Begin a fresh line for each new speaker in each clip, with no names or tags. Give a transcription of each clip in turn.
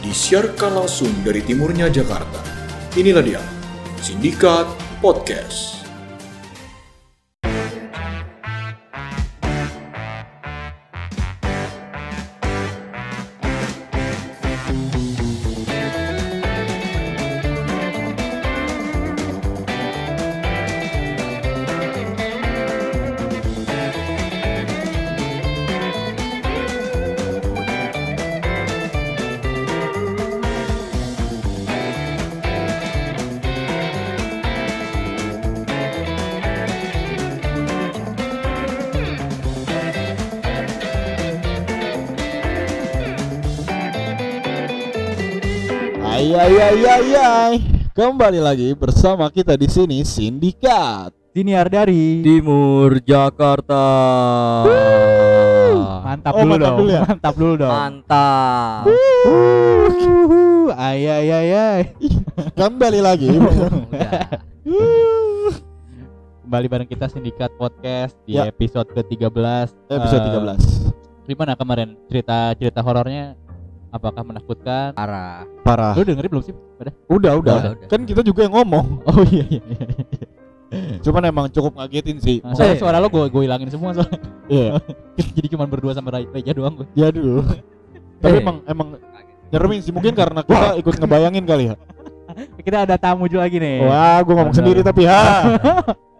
disiarkan langsung dari timurnya Jakarta. Inilah dia, Sindikat Podcast.
Ay ay ay ay ay. Kembali lagi bersama kita di sini Sindikat.
Diniar dari
Timur Jakarta.
mantap
Oh,
dulu
mantap
dong
dulu ya?
mantap dulu dong
Mantap.
Wuhu, ay ay ay ay
Kembali lagi. Eh,
Udah.
kembali bareng kita sindikat podcast di
Ya.
episode ke-13
Episode
Eh,
13.
gimana kemarin cerita cerita horornya apakah menakutkan
Parah.
Parah.
lu dengerin belum sih pada
Udah, udah.
Udah, udah.
Kan kita juga yang ngomong.
oh iya iya, iya.
Cuman emang cukup ngagetin sih.
Nah, soalnya
Oh, iya.
suara lo gue gue hilangin semua soalnya
Iya.
jadi cuma berdua sama Rai Reja doang gue
Ya dulu. Tapi
Eh.
emang emang nyeremin sih mungkin karena kita ikut ngebayangin kali ya.
kita ada tamu juga lagi nih
Wah, gua ngomong
Eh. Bener.
sendiri tapi ha.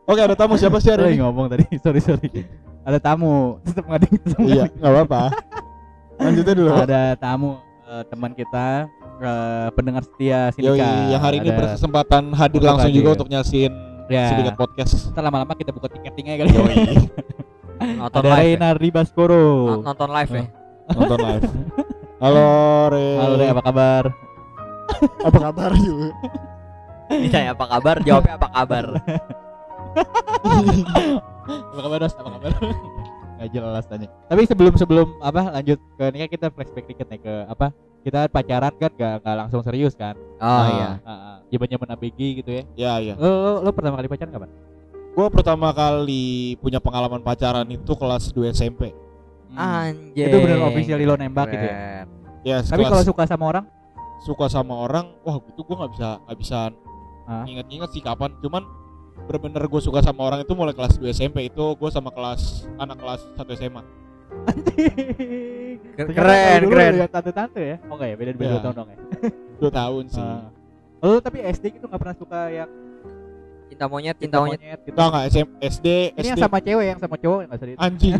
Oke, ada tamu siapa sih
Sorry
hari ini?
ngomong tadi sorry sorry ada tamu tetap ngading tetap ngading.
Iya, enggak apa-apa. Lanjutnya dulu.
ada tamu eh, teman kita eh, pendengar
Yoi,
setia sindikat
yang hari ini
Ada-
berkesempatan hadir
Untuk
langsung juga
hadir.
untuk nyasin
Ya.
Sindikat podcast.
Ntar lama-lama kita buka tiketingnya kali ya.
Nonton
ada
live.
Reina Ribaskoro
Ya? Nonton live ya.
nonton live. Halo Re.
halo Re apa kabar
Apa kabar yuk?
Ditanya apa kabar? Jawabnya apa kabar?
apa kabar Dos apa kabar nggak jelas tanya tapi sebelum sebelum apa lanjut ke ini kan kita flashback dikit nih ke apa kita pacaran kan gak, gak langsung serius kan
Oh
Ah.
iya.
zaman zaman ABG gitu ya
Ya ya.
lo, lo, lo pertama kali pacaran kapan
Gua pertama kali punya pengalaman pacaran itu kelas 2 SMP.
Hmm. Ah, Anjir.
itu bener officially lo nembak gitu ya
Keren.
Ya,
tapi
sekelas
kalau suka sama orang
suka sama orang, wah itu gua nggak bisa nggak bisa
Ah.
ingat-ingat sih kapan. Cuman bener-bener gue suka sama orang itu mulai kelas 2 SMP itu gue sama kelas anak kelas 1 SMA
Keren, keren, keren.
tante-tante ya oh enggak ya beda beda
Iya.
dua tahun dong ya
2 tahun sih
Ah. Lo tapi SD gitu gak pernah suka yang
Cinta monyet, cinta monyet.
gitu.
tau nggak Ah. SM, SD
Ini
SD
yang sama cewek yang sama cowok Oh, yang gak sedih.
anjing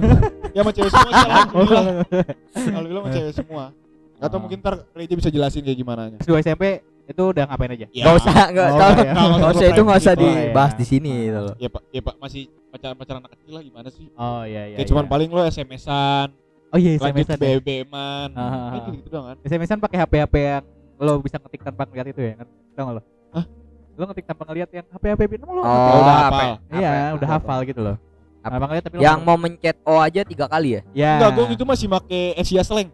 ya sama cewek semua sih alhamdulillah alhamdulillah sama cewek semua atau
Ah.
mungkin ntar Reja bisa jelasin kayak gimana
Pas dua SMP itu udah ngapain aja?
Ya,
Gak usah, gak
Oh,
usah.
iya.
Gak usah itu gak usah
gitu.
dibahas
Oh, iya.
di sini gitu loh.
Ya pak, ya pak masih pacaran pacaran anak kecil lah gimana sih?
Oh iya iya.
Ya, cuman
iya.
paling lo SMS-an,
Oh iya
lanjut
SMS-an. Ya.
BBM-an,
Ah, ah,
kayak
ah.
gitu, gitu doang kan?
SMS-an pakai HP-HP yang lo bisa ngetik tanpa ngeliat itu ya kan? Tahu gak lo?
Hah?
Lo ngetik tanpa ngeliat yang HP-HP itu
Ya
lo.
Oh,
udah
apa?
hafal.
Iya,
Apa?
udah hafal gitu loh.
Apa?
Apa ngeliat tapi lo
Yang mau mencet O aja tiga kali ya?
ya.
Enggak, gue itu gitu masih make Asia Slang.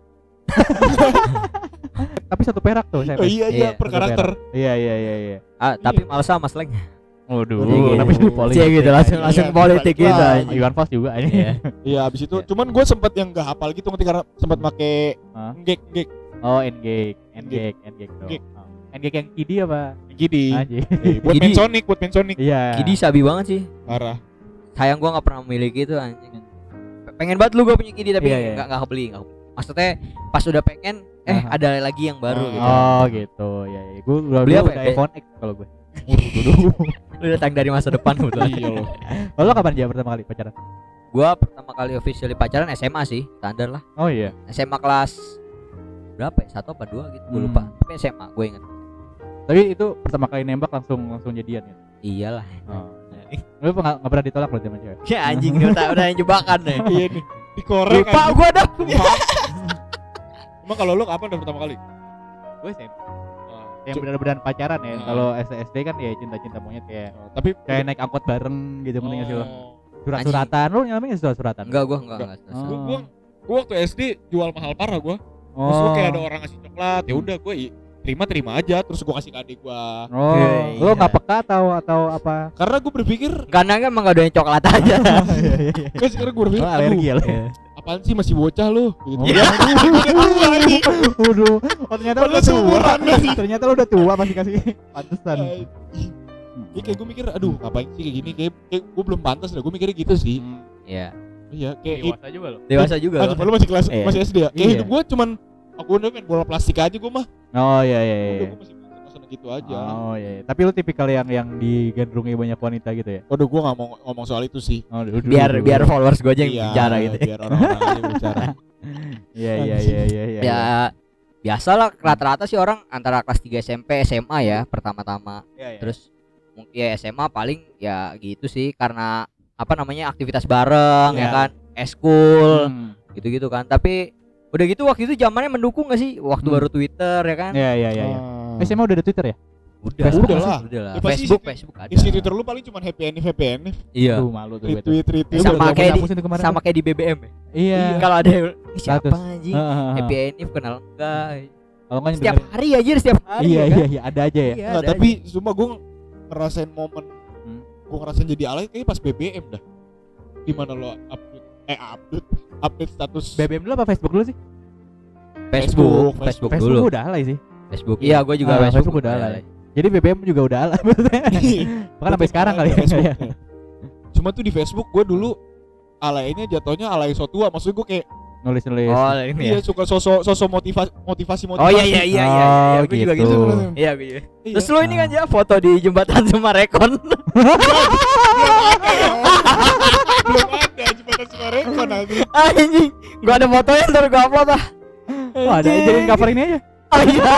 Tapi satu perak
Oh,
tuh SMS.
iya iya,
Iya,
per
satu
karakter.
Iya iya iya iya.
Ah, tapi males sama Sleng.
Waduh,
Iya, gitu.
kenapa jadi politik? ya.
Iya gitu, langsung
Iya,
langsung
iya,
politik
balik
gitu.
lagi.
anjing.
Iwan Fals juga ini.
Iya.
Iya, abis itu
Iya.
cuman gue sempet yang gak hafal gitu ngerti karena sempet make
Hah?
ngek ngek
Oh, N-Gag, N-Gag, N-Gag dong.
N-Gag.
Oh. N-Gag yang kidi apa?
gini.
Anjing.
Eh, buat
Gini.
Mensonic, buat Mensonic.
Iya.
Gidi sabi banget sih.
Parah.
sayang gua nggak pernah memiliki itu anjing pengen banget lu gua punya kidi tapi
Iya,
nggak
iya.
nggak kebeli nggak kebeli. maksudnya pas udah pengen eh
Aha.
ada lagi yang baru
Ah.
gitu
Oh gitu ya, ya. Oh, gitu gue udah
Beli
beli
apa
udah
ya?
iPhone X kalau gue.
lu datang dari masa depan betul
Iya loh.
Oh, lo kapan aja pertama kali pacaran?
gua pertama kali officially pacaran SMA sih standar lah
Oh iya.
SMA kelas berapa ya satu apa dua gitu gua
Hmm.
lupa tapi SMA gue inget
Tapi itu pertama kali nembak langsung langsung jadian gitu.
iyalah
Oh. Lu nggak nggak pernah ditolak loh sama cewek.
ya anjing udah tau- udah yang jebakan deh
Iya nih. Dikorek
lupa
anjing.
gua dah
Emang kalau lo apa udah pertama kali?
Gue sih
Ah.
yang
Cu-
benar-benar pacaran ya.
Hmm.
Kalau SD kan ya cinta-cinta monyet kayak
ah, tapi
Oh, kayak naik angkot bareng gitu penting sih lo.
Oh.
Surat-suratan. Lu ngalamin nggak sih surat-suratan?
enggak gua enggak enggak
Oh.
Gua, gua, gua waktu SD jual mahal parah gua. Terus gua
Oh.
kayak ada orang ngasih coklat, ya udah gua i- terima-terima aja terus gua kasih ke adik gua.
Oh,
Iya,
lu
iya.
nggak peka atau atau apa?
Karena gua berpikir,
karena kan emang gak ada yang coklat aja
Iya, iya, iya.
Oh,
kan sekarang gua berpikir,
Lu
aduh,
alergi ya lo.
apa apaan sih masih bocah lu gitu.
Iya. Waduh, oh, ternyata lu udah
Padahal
tua.
seumuran lagi.
ternyata lu udah tua masih kasih pantesan.
Iya. Jadi kayak gue mikir, aduh ngapain sih kayak gini, kayak, kayak gue belum pantas lah, gue mikirnya gitu sih
Iya.
Iya, kayak
Dewasa juga loh.
Dewasa juga.
Anjir, lu masih kelas,
Hmm. Iya.
masih SD ya? Kayak
Iya.
hidup gue cuman, aku udah main bola plastik aja gue mah
Oh iya iya. iya.
Udah gue masih bosan gitu aja
Oh iya, iya. tapi lu tipikal yang yang digandrungi banyak wanita gitu ya?
Waduh, gue gak mau ngomong soal itu sih
Oh,
Biar biar followers gue aja yang
Iya,
bicara gitu.
ya.
Biar orang-orang aja yang bicara
Iya iya iya iya. iya, iya.
Ya biasalah rata-rata sih orang antara kelas 3 SMP SMA ya pertama-tama.
Iya, iya.
Terus mungkin ya SMA paling ya gitu sih karena apa namanya aktivitas bareng
Iya.
ya kan, eskul
Hmm.
gitu-gitu kan. Tapi udah gitu waktu itu zamannya mendukung gak sih waktu
Hmm.
baru Twitter ya kan?
Iya iya iya. iya. Eh, SMA udah ada Twitter ya?
Udah,
Facebook
udah
masih-
lah. Udah lah.
Ya, pasti
Facebook,
isi-
Facebook ada.
Isi Twitter lu paling cuman happy ending, happy ending
Iya.
Tuh malu tuh gue tuh.
Retweet, retweet
Itu
Sama
udah
kayak di-
dihapus itu kemarin. kan.
Sama kayak di BBM ya.
Iya. Ah,
Kalau ada yang, "Ih, siapa
Status.
anjing?
Heeh, heeh.
Happy Enif kenal enggak?
Kalau enggak
Setiap hari aja, setiap hari.
Iya
ya kan?
iya iya ada aja ya.
Iya,
Nggak,
ada
Nah, tapi
aja.
cuma gue ngerasain momen
Hmm.
Gue ngerasain jadi alay kayaknya pas BBM dah Dimana lo update Eh update Update status
BBM dulu apa Facebook dulu sih?
Facebook,
Facebook.
Facebook,
Facebook
dulu.
udah alay sih.
Facebook. Iya, gua juga
Ah,
Facebook. Iya,
Facebook udah alay. Jadi BBM juga udah alay. Bahkan sampai sekarang kali ya.
Facebook. Cuma tuh di Facebook gue dulu Alaynya jatuhnya alay so tua Maksudnya gue kayak
Nulis nulis.
Oh, ini ya.
Iya suka sosok sosok motivasi motivasi motivasi
Oh iya iya iya iya. iya,
Oh,
gua juga
gitu.
gitu. Iya, gua juga.
Iya.
Terus lu ini kan ya foto di jembatan Semarekon.
belum ada jembatan Sumarekon nanti
Anjing, gua ada fotonya ntar gua upload ah.
Wah, Oh, ada
Anjing.
jadiin cover ini aja.
Oh iya.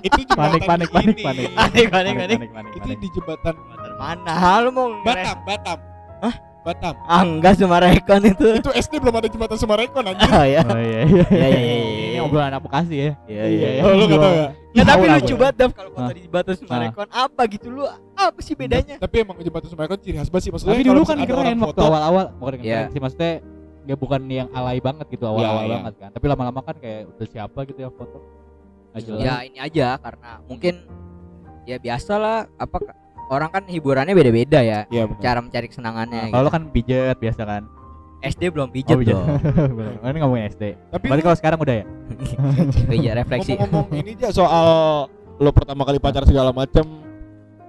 itu jembatan
Panik, panik,
ini.
panik, panik.
Aneh aneh aneh.
panik,
itu di jembatan
Mana lu mau
Batam Batam Hah? Batam
Ah, enggak Semarekon itu.
itu SD belum ada jembatan Sumarekon anjir
Oh iya.
Oh iya iya.
Iya iya iya.
Ini
iya.
obrolan anak Bekasi ya.
Iya
oh, lu gak tau ya
Ya tapi
Tahu lah
lucu
gua.
banget Daf kalau foto
Hah?
di batas Semarekon apa gitu lu apa sih bedanya?
tapi emang jembatan Sumarekon ciri khas banget sih maksudnya
Tapi
kalau
dulu kan
misalnya ada
keren
orang
waktu
foto,
awal-awal. Bukan keren
Iya.
sih maksudnya nggak bukan yang alay banget gitu awal-awal
iya.
banget kan. Tapi lama-lama kan kayak udah siapa gitu yang foto. Nggak jelas.
Ya ini aja karena mungkin ya biasa lah apa orang kan hiburannya beda-beda ya
iya benar
cara mencari kesenangannya.
Kalau Oh, iya.
gitu.
lo kan pijet biasa kan.
SD belum pijet
pijet.
dong.
Bener. Oh, ini ngomongin SD.
tapi
Berarti kalau sekarang udah ya?
Pijet refleksi.
ngomong-ngomong ini aja soal lo pertama kali pacar segala macam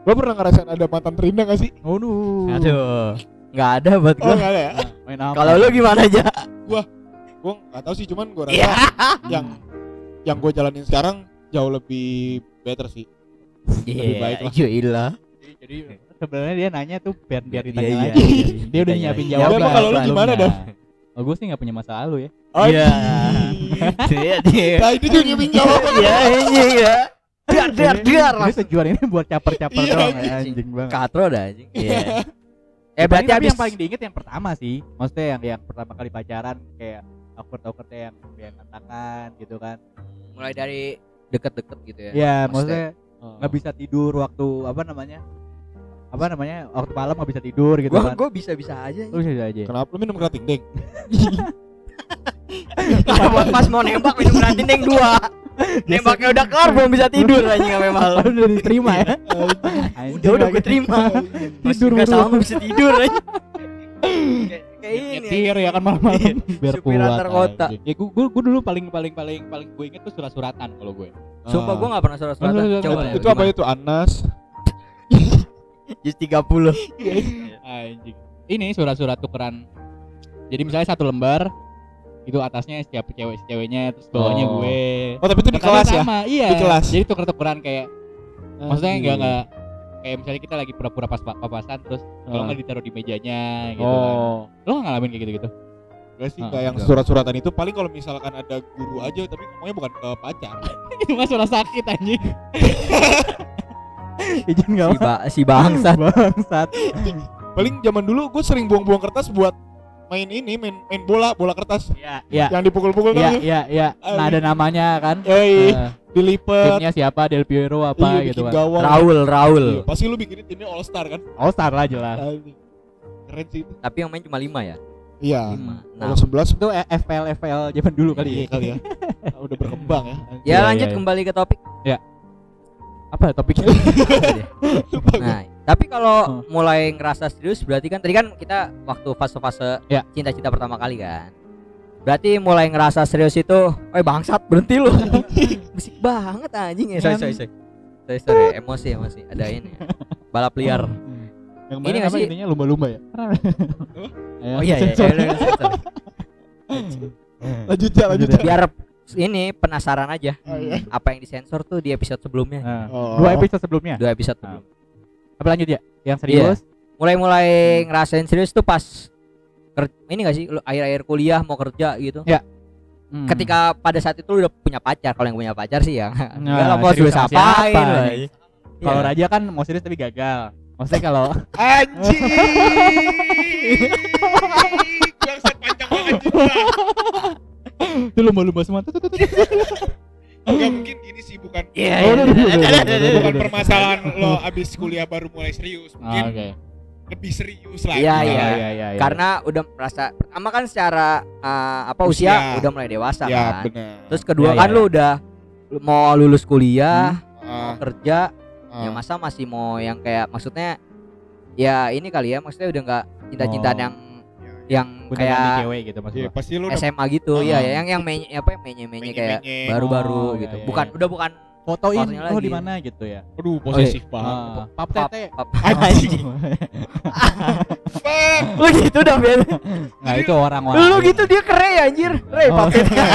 lo pernah ngerasain ada mantan terindah gak sih
Oh no.
Aduh. Nggak ada buat
oh
gua.
gak ada ya
Main apa?
Kalau lu gimana aja?
gue gak tau sih cuman gue rasa
Iya.
yang yang gue jalanin sekarang jauh lebih better sih
Iya,
Lebih baik lah.
Gila.
jadi sebenarnya dia nanya tuh biar biar ditanya
Iya,
lagi.
iya.
Dia udah
Iya,
nyiapin
iya.
jawaban.
Tapi kalau lu gimana,
sebelumnya. Oh, gue sih nggak punya masa lalu ya.
Iya. Iya, iya.
nah ini juga nyepin jawaban
Iya, iya, iya. Dar dar
Ini-
dar.
Ini tujuan ini buat caper-caper
Iya,
doang
anjing.
anjing banget.
Katro dah anjing. Iya.
Ya,
Eh berarti
tapi
habis
yang paling diinget yang pertama sih. Maksudnya yang yang pertama kali pacaran kayak awkward awkwardnya yang yang tantangan gitu kan.
mulai dari deket-deket gitu ya.
Iya,
maksudnya-
maksudnya nggak bisa tidur waktu apa namanya? Apa namanya? Waktu malam nggak bisa tidur gitu
Gua
kan.
gua bisa-bisa aja.
Lu bisa aja.
kenapa lo minum kerating deng
Iya.
Pas pas mau nembak minum gratis neng dua. Nembaknya udah kelar belum bisa tidur aja nggak memang.
Padahal udah diterima ya. Anjing, gitu.
Udah udah gue
kaget.
terima. Masih
Tidur
nggak
mulu.
sanggup bisa tidur aja. Kayak- Kayak ini.
Nyetir ya kan malam-malam biar
Supir
kuat.
antar kota.
anjing. Ya gua, gua, gua dulu paling paling paling paling gue inget tuh surat-suratan kalau ya. gue.
Sumpah gue nggak pernah surat surat.
Udah, udah, udah,
Coba
udah.
itu apa itu Anas
Just tiga puluh.
Iya. Anjing. Ini surat-surat tukeran. Jadi misalnya satu lembar itu atasnya setiap cewek ceweknya terus bawahnya
Oh.
gue.
oh tapi itu di kelas ya
sama, iya.
Di kelas.
Jadi tuker-tukeran kayak maksudnya
Anjing.
enggak enggak kayak misalnya kita lagi pura-pura pas papasan terus kalau
Ah.
nggak ditaruh di mejanya gitu
oh
kan. Lo nggak ngalamin kayak gitu-gitu?
Gak sih,
Ah,
nggak yang
enggak.
surat-suratan itu paling kalau misalkan ada guru aja, tapi ngomongnya bukan ke pacar.
itu mah surat sakit anjing. Izin enggak
Si, ba si bangsat.
Bangsat.
Paling zaman dulu gue sering buang-buang kertas buat main ini, main main bola, bola kertas
Iya, iya.
yang dipukul-pukul
Iya,
kan?
iya, iya. Nah, ada namanya kan.
Yoi,
Eh,
dilipet,
timnya siapa? Del Piero
iya,
apa
bikin
gitu kan.
gawang.
Raul Raul.
Iya, pasti lu bikin timnya all star kan?
All Oh, star lah jelas.
Anjing. Keren sih itu.
Tapi yang main cuma lima ya.
Iya.
Lima.
Kalau
Nah.
sebelas
Itu eh, FPL FPL zaman dulu
iya
kali ya.
kali ya. Udah berkembang ya. Anjing.
Iya,
Ya lanjut
iya.
kembali ke topik.
Apa Iya. topiknya?
Nah, tapi
Huh.
Hmm.
kalau mulai ngerasa serius berarti kan tadi kan kita waktu fase-fase
Ya.
cinta-cinta pertama kali kan. Berarti mulai ngerasa serius itu, eh bangsat berhenti lu. Bisik banget anjing ya.
Iya.
Sorry, sorry, sorry. Sorry, sorry, emosi, emosi. Ada ini. ya. Balap liar.
Yang
Ini
kemarin
nggak
apa
sih?
intinya lumba-lumba ya? Ayo,
Oh iya, iya,
sensor.
iya, iya, sorry.
lanjut ya lanjut ya.
Biar ini penasaran aja.
Oh, iya.
Apa yang disensor tuh di episode sebelumnya.
Nah,
Oh.
Dua episode sebelumnya.
Dua episode
Ah.
sebelum.
Apa lanjut ya? Yang serius?
Iya. Mulai-mulai ngerasain serius tuh pas ker- ini gak sih lu akhir-akhir kuliah mau kerja gitu.
Hmm.
Ketika pada saat itu lu udah punya pacar, kalau yang punya pacar sih ya. Enggak
Nah,
lah mau
serius
serius iya.
sama
apain
siapa,
lah.
anjing? Kalau Raja kan mau serius tapi gagal. Maksudnya kalau
Anjing. Bangsat panjang banget juga.
itu lumba-lumba semua. Tut, tut, tut, tut.
Enggak mungkin gini sih bukan
Iya,
Oh, udah, udah, udah, udah, udah, udah,
bukan
udah.
permasalahan lo abis kuliah baru mulai serius.
Ah,
Mungkin
Oke.
lebih serius lagi.
Iya,
Ah,
iya.
iya.
karena udah merasa pertama kan secara eh, apa usia,
Usia.
udah mulai dewasa
Iya,
Ya,
kan.
benar.
Terus kedua
Ya,
kan
ya,
lu udah lu mau lulus kuliah,
Hmm.
Ah,
kerja,
ah.
ya masa masih mau yang kayak maksudnya ya ini kali ya maksudnya udah nggak cinta-cintaan
Oh.
yang yang
Punya mami
kayak
cewek gitu maksudnya.
Iya, pasti lo udah
SMA gitu
Ah.
ya ya yang yang menye, apa ya, menye-menye kayak
menye-menye.
Hmm.
baru-baru
Oh, iya,
gitu.
iya,
bukan
iya.
udah bukan
Fotoin
Fotonya
oh
lagi.
di mana gitu ya.
Aduh, posesif banget.
Ah. Pap tete. Ah.
pap-
Anjing. Fuck.
lu gitu dah Ben.
Nah, itu orang-orang.
Lu gitu dia kere ya anjir. Re
Oh.
pap tete.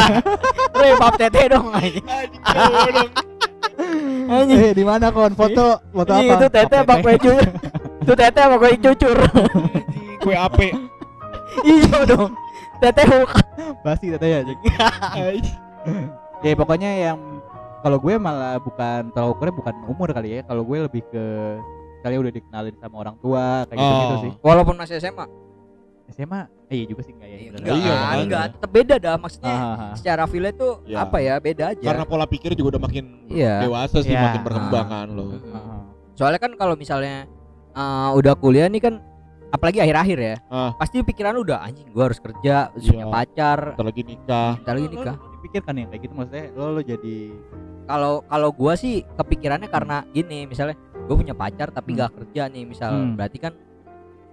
Re pap tete dong anjing.
Anjing, cowok dong.
Anjing.
Eh, di mana kon foto? Foto apa?
Ini itu tete apa kue cucur? Itu tete apa kue cucur?
Anjing, Kue ape.
Iya dong. Tete hook.
Pasti tete ya. Jack.
Iya.
Ya pokoknya yang kalau gue malah bukan terlalu keren bukan umur kali ya. Kalau gue lebih ke kalian udah dikenalin sama orang tua kayak gitu gitu
Oh.
sih.
Walaupun masih SMA.
SMA eh, iya juga sih enggak ya.
Iya,
bener.
enggak,
Iya,
enggak,
kan?
tetap beda dah maksudnya.
Ah, ah, ah.
Secara file tuh
Ya.
apa ya beda aja.
Karena pola pikir juga udah makin
Iya.
dewasa sih,
Iya.
makin berkembang kan lo.
Mm.
Ah, ah.
Soalnya kan kalau misalnya eh, udah kuliah nih kan apalagi akhir-akhir ya.
Ah.
Pasti pikiran lu udah anjing gua harus kerja, harus
Iya.
punya pacar,
Ntar lagi nikah.
bentar lagi
Lo- lo-
nikah.
lo dipikirkan ya kayak gitu maksudnya lo lo jadi
Kalau kalau gua sih kepikirannya karena gini misalnya gua punya pacar tapi
Hmm.
nggak kerja nih misal.
Hmm.
Berarti kan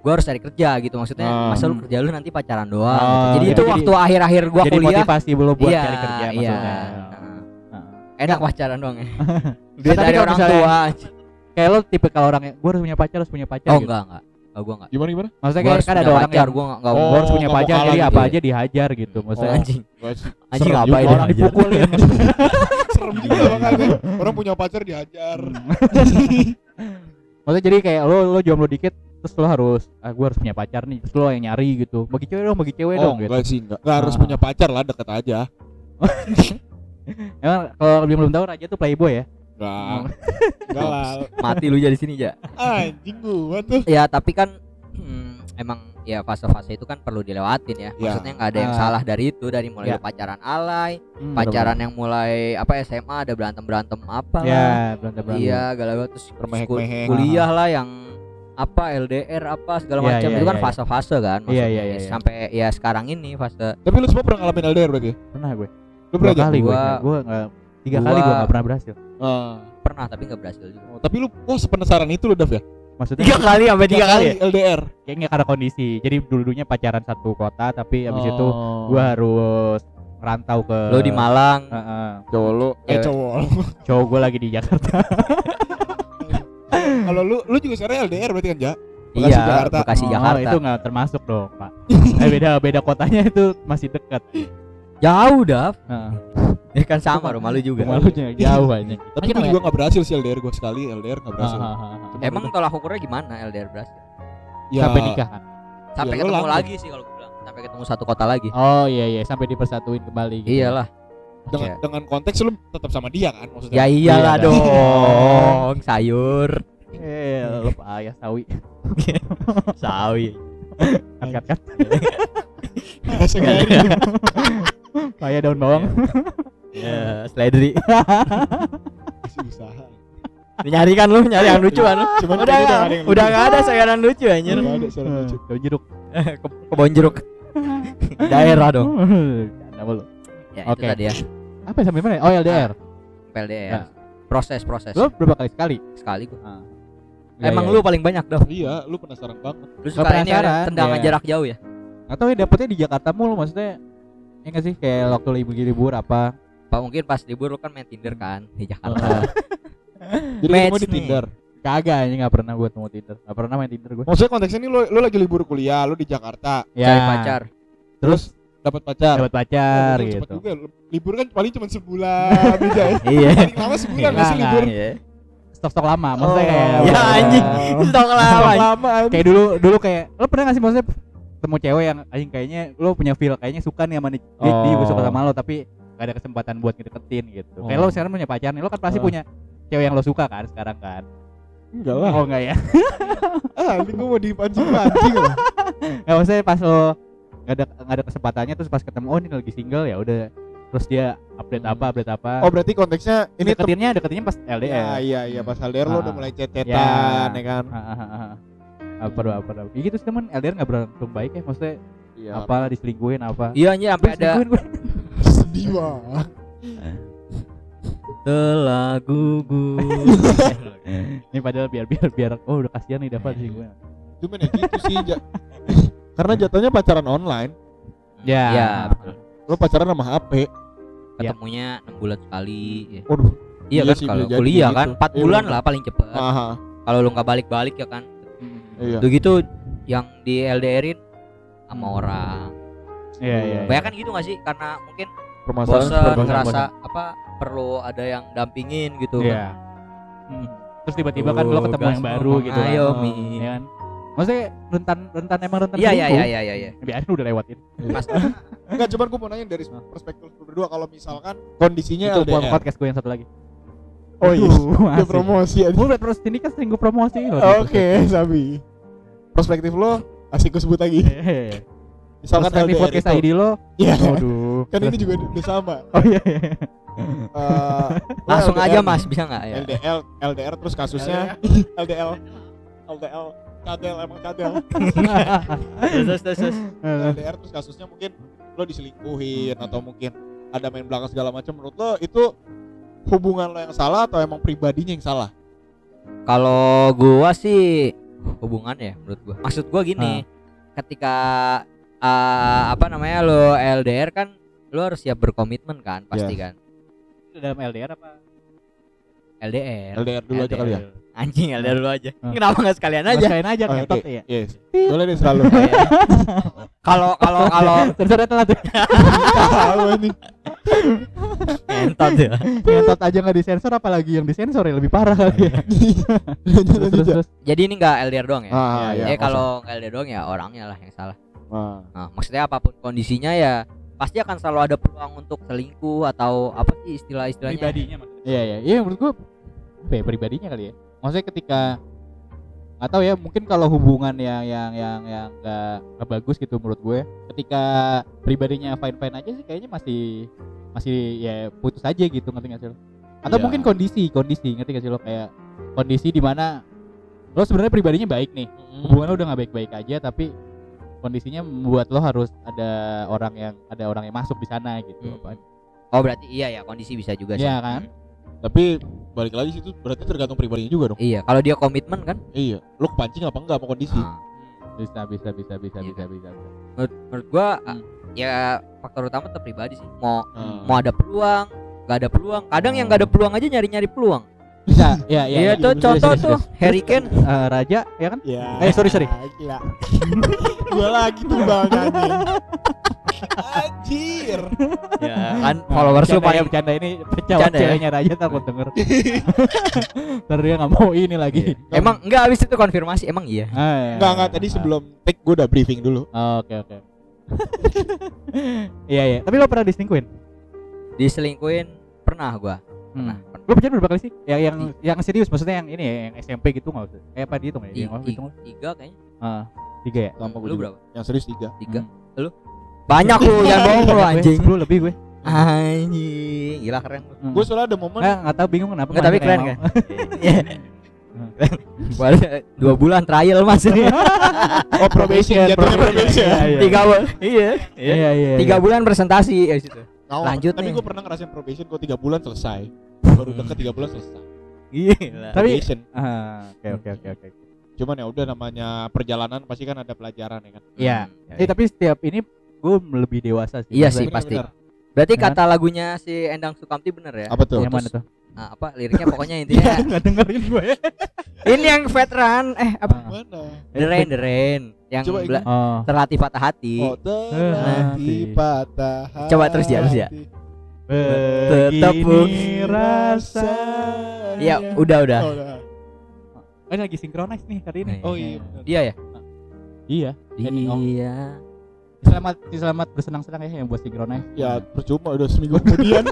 gua harus cari kerja gitu maksudnya.
Ah.
Masa lu
Hmm.
kerja lu nanti pacaran doang.
Ah,
gitu. Jadi
iya.
itu
Jadi-
waktu akhir-akhir gua
jadi
kuliah
motivasi lo buat
iya,
cari kerja
iya.
maksudnya.
Nah.
Ah.
enak pacaran doang ya.
Dia
dari orang tua.
kayak lo tipe kalau orang yang gue harus punya pacar harus punya pacar
Oh
gitu.
enggak enggak. Oh, gua enggak.
Gimana gimana?
Maksudnya
Gua
kayak
harus
kan
punya
ada orang
pacar,
yang
gua enggak enggak
Oh,
gue harus punya
nggak mau
pacar
kalah
jadi
gitu
apa
ya.
aja dihajar gitu
Oh,
maksudnya.
anjing.
Gua sih-
Anjing
Serem
ngapain
juga
dah
orang
ajar.
dipukulin. Serem juga bakal gue. Orang punya pacar dihajar.
Hmm. maksudnya jadi kayak lo lo jomblo dikit terus lo harus ah gue harus punya pacar nih terus lo yang nyari gitu bagi cewek dong bagi cewek
Oh,
dong gitu
enggak sih, enggak. Enggak harus
Ah.
punya pacar lah, deket aja.
emang kalau belum belum tahu raja tuh playboy ya
Enggak. Enggak lah.
Mati lu jadi sini aja.
Anjing gua tuh.
Ya tapi kan hmm, emang ya fase-fase itu kan perlu dilewatin ya.
Ya.
Maksudnya nggak ada yang
Ah.
salah dari itu dari mulai
Ya.
lu pacaran alay,
Hmm,
pacaran yang mulai apa SMA ada berantem-berantem apa
bener-bener.
lah.
ya berantem berantem
Iya, galau terus
Permehek-mehek.
kul- kuliah lah yang apa LDR apa segala
Iya,
macam
iya,
itu kan
iya,
fase-fase kan
Iya,
maksudnya
iya, iya, iya.
sampai ya sekarang ini fase
Tapi lu semua pernah ngalamin LDR berarti? ya?
pernah gue
Lu
dua
pernah aja?
kali gue
Gua-
gue nggak tiga
gua-
kali gue nggak pernah berhasil
Ah.
pernah tapi nggak berhasil juga.
Oh, tapi lu oh sepenasaran itu lu Dav ya?
maksudnya
Tiga kali sampai tiga kali.
LDR.
kayaknya karena kondisi jadi dulunya pacaran satu kota tapi abis itu
Oh.
gue harus merantau ke
Lo di Malang,
Heeh.
cowok lu eh
Cewek.
cowok lu.
cowok gue lagi di Jakarta
Kalau lu lu juga sekarang LDR berarti kan, Ja? Bekasi,
iya,
Jakarta.
Bekasi
Oh,
Jakarta.
itu nggak termasuk dong pak eh, beda beda kotanya itu masih dekat
Jauh dah.
Heeh.
Ya kan sama rumah lu juga.
Rumah lu juga jauh aja
Tapi gua
ya.
juga nggak berhasil sih LDR gua sekali LDR nggak berhasil. Cuma
Emang
udah-
tolak ukurnya gimana LDR berhasil? Iya.
ya,
sampai nikah kan
Sampai
Ya, lu
ketemu
langsung.
lagi sih kalau gue bilang. Sampai ketemu satu kota lagi.
oh iya iya sampai dipersatuin kembali gitu.
Iyalah.
Dengan,
Iya.
dengan konteks lu tetap sama dia kan maksudnya.
Ya iyalah
Iya,
dong, sayur,
eh lu Pak, ayah sawi
sawi.
kat kat kat
iya.
iya.
Sekali.
ayah daun bawang
Ya, seledri.
Masih usaha.
Nyari kan lu, nyari yang lucu kan lu.
Cuman
Udah
kayaknya
nggak-
ada yang
udah
lucu.
enggak ada sayaran lucu anjir.
Nggak ada suara lucu.
Iya, daun jeruk
Ke kebon jeruk. Daerah dong.
Canda mulu.
Ya,
Oke.
itu tadi ya.
apa sampai mana oh LDR
PLDR. E ya. Proses, proses.
lo berapa kali sekali
Sekali gua.
Iya,
Emang
iya,
lu paling banyak dong.
Iya, lu penasaran banget.
Lu suka ini ya,
penasaran,
tendangan
iya.
jarak jauh ya?
Atau ya dapetnya di Jakarta mulu maksudnya ya nggak sih kayak waktu libur libur apa
Pak mungkin pas libur lu kan main Tinder kan di Jakarta.
Heeh.
Jadi ketemu
Match
di
nih.
Tinder.
kagak ini nggak pernah gue temu tinder nggak pernah main tinder gue
Maksudnya konteksnya ini lu, lu lagi libur kuliah, lu di Jakarta,
Ya.
Cari pacar.
terus
dapat pacar.
dapat
Oh,
pacar
berarti cepet
gitu
juga. Libur kan paling cuma sebulan aja ya.
iya
Paling lama sebulan
Nggak,
masih libur.
nggak, iya. stok-stok lama maksudnya
Oh.
kayak
Ya
udah-
anjing, stok lawan.
Lama anjing.
kayak dulu dulu kayak lo pernah nggak sih maksudnya temu cewek yang anjing kayaknya lo punya feel kayaknya suka nih sama nih dia,
Oh.
dia suka sama lo tapi gak ada kesempatan buat ngedeketin gitu kayak
Oh.
lo sekarang punya pacar nih lo kan pasti
Oh.
punya cewek yang lo suka kan sekarang kan
Enggak lah.
oh enggak ya
Ah, ini gua mau dipancing-pancing lah.
nggak maksudnya pas lo nggak ada nggak ada kesempatannya terus pas ketemu oh ini lagi single ya udah terus dia update
Hmm.
apa update apa
Oh, berarti konteksnya ini tem-
deketinnya deketinnya pas
Ya,
LDR
iya iya pas LDR lo udah
Ah.
mulai cetetan
Ya.
ya kan.
apa apa apa ya gitu sih teman LDR nggak berlangsung baik ya maksudnya
Iya.
apa diselingkuhin apa
Iya anjir sampai ada
Diselingkuhin gue.
Sedih banget.
telah gugur.
ini padahal biar biar biar oh udah kasihan nih dapat sih gue
Cuman ya gitu sih. Ja- Karena jatuhnya pacaran online,
ya
Iya, betul.
lo pacaran sama HP.
Ketemunya 6 bulan sekali. ya.
Waduh.
Iya
Iya
kan
sih,
kalau
bisa jadi
kuliah
gitu.
kan 4
Iya,
bulan
bener.
lah paling cepet.
Aha.
Kalau lu nggak balik-balik ya kan.
Hmm.
Iya.
Udah gitu yang di LDR-in sama
Hmm.
orang.
iya iya
Banyak kan gitu gak sih? Karena mungkin
Permasalahan
bosen,
permasalahan.
ngerasa apa perlu ada yang dampingin gitu.
iya Hmm. terus tiba-tiba kan lo
Tuh,
ketemu
gas
yang
ngomong,
baru gitu
ayo,
kan.
Mi.
Iya kan maksudnya rentan rentan emang rentan
Iya iya iya
selingkuh.
iya iya. iya.
biarin udah lewatin
Mas
Enggak, cuman gue mau nanya dari perspektif lu berdua kalau misalkan kondisinya
itu buat
LDR.
podcast gue yang satu lagi
Ya, Oh iya. Dia
Aduh, asik.
promosi aja.
gue terus ini kan sering gue promosi loh
Oke, Sabi. Perspektif lo asik gue sebut lagi.
Hehehe.
Misalkan
Terus di
LDR
podcast
itu.
ID lo
Iya.
Waduh
Kan ini
Terus-
juga udah sama.
Oh iya iya
Eh, lo
langsung
LDR
aja
nih.
Mas bisa nggak ya?
LDL, LDR terus kasusnya LDL, LDL, kadel emang kadel.
Terus terus terus.
LDR terus kasusnya mungkin lo diselingkuhin atau mungkin ada main belakang segala macam. Menurut lo itu hubungan lo yang salah atau emang pribadinya yang salah?
Kalau gua sih hubungan ya menurut gua. Maksud gua
Ah.
gini, ketika eh, apa namanya lo LDR kan lo harus siap berkomitmen kan pasti
Iya.
kan
Itu dalam LDR apa?
LDR.
LDR dulu aja kali ya. Ah.
Anjing LDR dulu aja.
Hmm.
Kenapa nggak sekalian
Mas
aja? Iya.
kain aja
Oh,
kentot
oke.
ya
Yes. Boleh deh selalu.
Kalau kalau kalau
Sensornya telat tuh
Tahu ini.
entot ya.
Kentot aja gak disensor apalagi yang disensor ya lebih parah kali ya
Lanjut,
Terus
lanjut,
terus terus
Jadi ini nggak LDR doang ya.
Ah,
ya,
iya,
jadi kalau nggak LDR doang ya orangnya lah yang salah.
Ah.
Nah, maksudnya apapun kondisinya ya pasti akan selalu ada peluang untuk selingkuh atau apa sih istilah-istilahnya?
maksudnya Iya iya iya menurut gua apa ya, pribadinya kali ya Maksudnya ketika Gak tau ya mungkin kalau hubungan yang yang yang yang gak, nggak bagus gitu menurut gue Ketika pribadinya fine-fine aja sih kayaknya masih Masih ya putus aja gitu ngerti gak sih lo? Atau
Iya.
mungkin kondisi kondisi ngerti gak sih lo kayak Kondisi dimana Lo sebenarnya pribadinya baik nih hubungan lo udah nggak baik-baik aja tapi kondisinya membuat lo harus ada orang yang ada orang yang masuk di sana gitu
Hmm. Oh berarti iya ya kondisi bisa juga sih. Hmm.
Iya kan?
Tapi balik lagi situ berarti tergantung pribadinya juga dong.
Iya, kalau dia komitmen kan.
Iya. Lo kepancing apa enggak sama kondisi?
Nah,
bisa bisa bisa bisa
Iya.
bisa bisa bisa.
menurut, menurut gua ah,
Hmm.
ya faktor utama tetap pribadi sih. Mau
Hmm.
mau ada peluang, nggak ada peluang. Kadang yang nggak ada peluang aja nyari-nyari peluang.
bisa ya ya,
Iya
ya.
tuh
iya,
contoh
iya, iya,
tuh Harry Kane.
Eh, raja ya kan
Ya.
Eh, sorry, sorry.
Gila. Gua lagi tuh bang anjing. Anjir.
ya kan followers
Bercanda
lu
ya,
paling
bercanda ini pecah
Bercanda ya?
ceweknya raja takut denger ntar dia nggak mau ini lagi
Iya. Emang enggak habis itu konfirmasi emang iya.
Ah, iya.
Enggak enggak tadi sebelum take gua udah briefing dulu.
Oh, oke oke iya iya tapi lo pernah diselingkuhin
Diselingkuin pernah gua.
Hmm.
Pernah. pernah.
Nah, lo pacaran berapa kali sih yang yang yang serius maksudnya yang ini ya, yang SMP gitu nggak usah eh apa dihitung ya
I-
yang mau
i-
hitung
tiga kayaknya.
Ah, tiga ya
Sama gua
Lu
juga.
berapa?
Yang serius tiga.
Tiga. Lu? Banyak lu yang bohong lu anjing.
Sepuluh lebih gue.
Anjing, gila keren. lu.
Hmm.
Gue soalnya ada momen
Eh,
nggak nggak tahu bingung kenapa.
Enggak tapi
Maksudnya
keren
kayak
kan? Iya. Keren. Baru- Dua bulan trial mas ini.
oh probation jatuhnya probation.
Iya, iya.
Tiga bulan. Iya.
Iya iya. iya.
Tiga bulan presentasi ya situ.
Nggak apa-apa.
Lanjut
Tapi
nih.
gue pernah ngerasain probation gue tiga bulan selesai. Baru
Hmm.
deket tiga bulan selesai.
Gila.
Tapi
Probation.
Ah, oke oke oke oke.
Cuman ya udah namanya perjalanan pasti kan ada pelajaran ya kan.
Iya. Eh tapi setiap ini gue lebih dewasa sih.
Iya
Maksudnya,
sih
Bener,
pasti.
bener.
Berarti
Hah?
kata lagunya si Endang Sukamti bener ya?
Apa tuh?
Yang mana tuh?
Ah, apa liriknya pokoknya intinya
Nggak dengerin ya. gue.
ini yang veteran eh apa?
Ah.
Mana?
The Rain, The Rain yang
Coba
bela-
Oh.
terlatih patah hati.
Oh, terhati
Hati.
patah hati.
Coba terus ya, terus ya. Tetap
Begini
bu-
rasa.
Iya, udah udah.
Oh, udah.
Oh, ini lagi sinkronize nih kali ini.
Oh, iya, bener.
Dia ya? Iya.
Iya. Ending on.
Dia.
Selamat selamat bersenang-senang ya yang buat sinkronize.
Ya, percuma udah seminggu kemudian.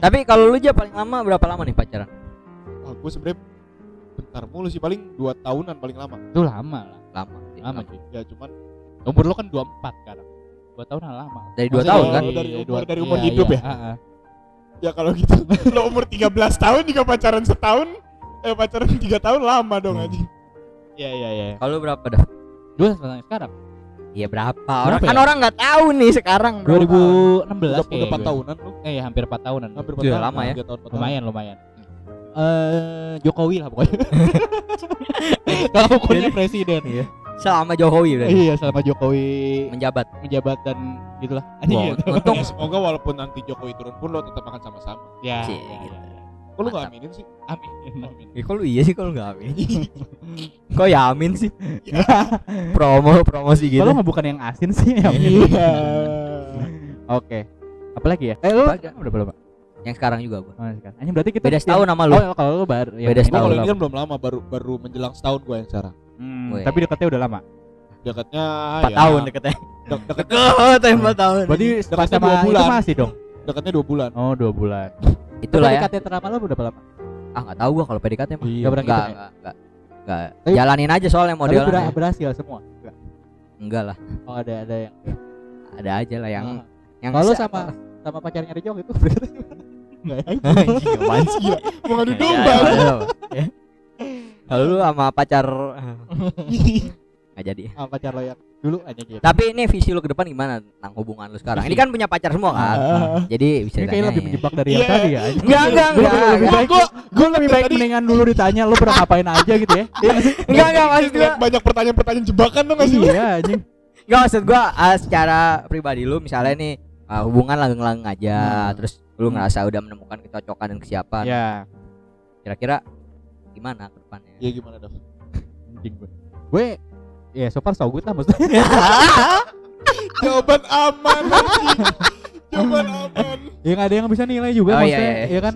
Tapi kalau lu aja paling lama berapa lama nih pacaran?
oh, gue sebenernya bentar mulu sih paling 2 tahunan paling lama.
Itu lama lah.
Lama. sih,
Lama
lama.
cuy.
Ya cuman
Umur lo kan 24 sekarang. 2 tahun lah lama.
Dari dua
Maksudnya
tahun
kalau
kan?
dari umur-
dua-
dari umur
iya,
hidup
iya,
ya?
ah, ah.
ya kalau gitu lo umur 13 tahun juga pacaran setahun eh pacaran 3 tahun lama dong
Hmm.
anjing.
Iya iya iya.
Kalau lu berapa dah?
Dua tahun sekarang.
Iya berapa? Orang
Berapa
kan
ya?
orang nggak tahu nih sekarang. bro.
2016
Udah,
kayak
udah 4
gue.
tahunan lo.
Eh ya, hampir 4 tahunan.
Hampir
Udah
tahun.
lama ya.
Tiga tahun, empat tahun.
Lumayan lumayan. Eh Jokowi lah pokoknya. Kalau ukurnya presiden.
Iya. Selama Jokowi berarti
Iya selama Jokowi
menjabat.
menjabat dan gitulah.
Wow,
Anjing gitu.
untung
Ya, semoga walaupun nanti Jokowi turun pun lo tetap akan sama-sama.
Ya.
Cie,
ya,
gitu.
ya.
Kok lo
Mantap.
gak aminin sih?
Amin. Amin.
Ya, kok lu iya sih kalau nggak amin. kok ya amin sih?
Iya.
promo promosi gitu.
Kalau nggak bukan yang asin sih
ya.
yang ini.
Iya.
Oke. Apalagi ya? Eh lu
Apalagi?
udah berapa?
Yang sekarang juga gua.
Oh, sekarang. Anjing berarti kita
Beda setahun sama lu.
Oh, ya, kalau lu baru ya,
Beda
ini
Gue kalau
setahun.
ini kan belum lama baru baru menjelang setahun gue yang sekarang.
Hmm,
Weh.
tapi deketnya udah lama.
Dekatnya ya,
iya.
4 tahun deketnya. Iya.
Dek- dekatnya
Oh,
Deket 4 tahun.
Berarti pas
dekatnya
sama
dua
itu
bulan.
masih dong.
dekatnya 2 bulan.
Oh, dua bulan.
itulah
Tapi
ya.
deketnya terlama lu berapa lama?
Ah enggak tahu gua kalau PDKT mah.
Iya. Nggak pernah
Nggak,
gitu,
nggak, nggak. Nggak.
Tapi-
Jalanin aja soalnya
Tapi
modelnya.
ber- berhasil semua.
Enggak lah.
Oh, ada ada yang.
Ada aja lah yang
Ah.
yang
kalau
se-
sama sama pacarnya gitu? Rejong itu berarti enggak ya?
Anjing, apaan sih?
Mau ngadu
Ya,
domba.
ya, ya, ya. Kalau lu sama pacar ah, nggak jadi.
Sama pacar lo yang dulu aja gitu.
Tapi ini visi lu ke depan gimana tentang hubungan lu sekarang? Ini kan punya pacar semua kan.
Ah.
Jadi bisa
Ini kayaknya
ditanya
lebih
ya.
menjebak dari yang
Iya.
tadi ya. anjing.
Enggak, enggak,
Gua
enggak.
lebih
enggak.
baik, gua lebih baik mendingan dulu ditanya lo pernah ngapain aja gitu ya. Iya nggak sih?
Enggak, enggak maksud gua.
Lihat banyak pertanyaan-pertanyaan jebakan dong sih?
Iya anjing.
Enggak maksud gua ah, secara pribadi lu misalnya nih ah, hubungan langgeng-langgeng aja,
Hmm.
terus lu
Hmm.
ngerasa udah menemukan kecocokan dan kesiapan.
Iya.
Kira-kira gimana ke depannya?
Ya gimana dong?
Anjing gue. Gue ya so far so good lah maksudnya.
Jawaban aman. anjing. Jawaban aman.
ya nggak ada yang bisa nilai juga
Oh, iya,
maksudnya.
iya, iya.
Ya kan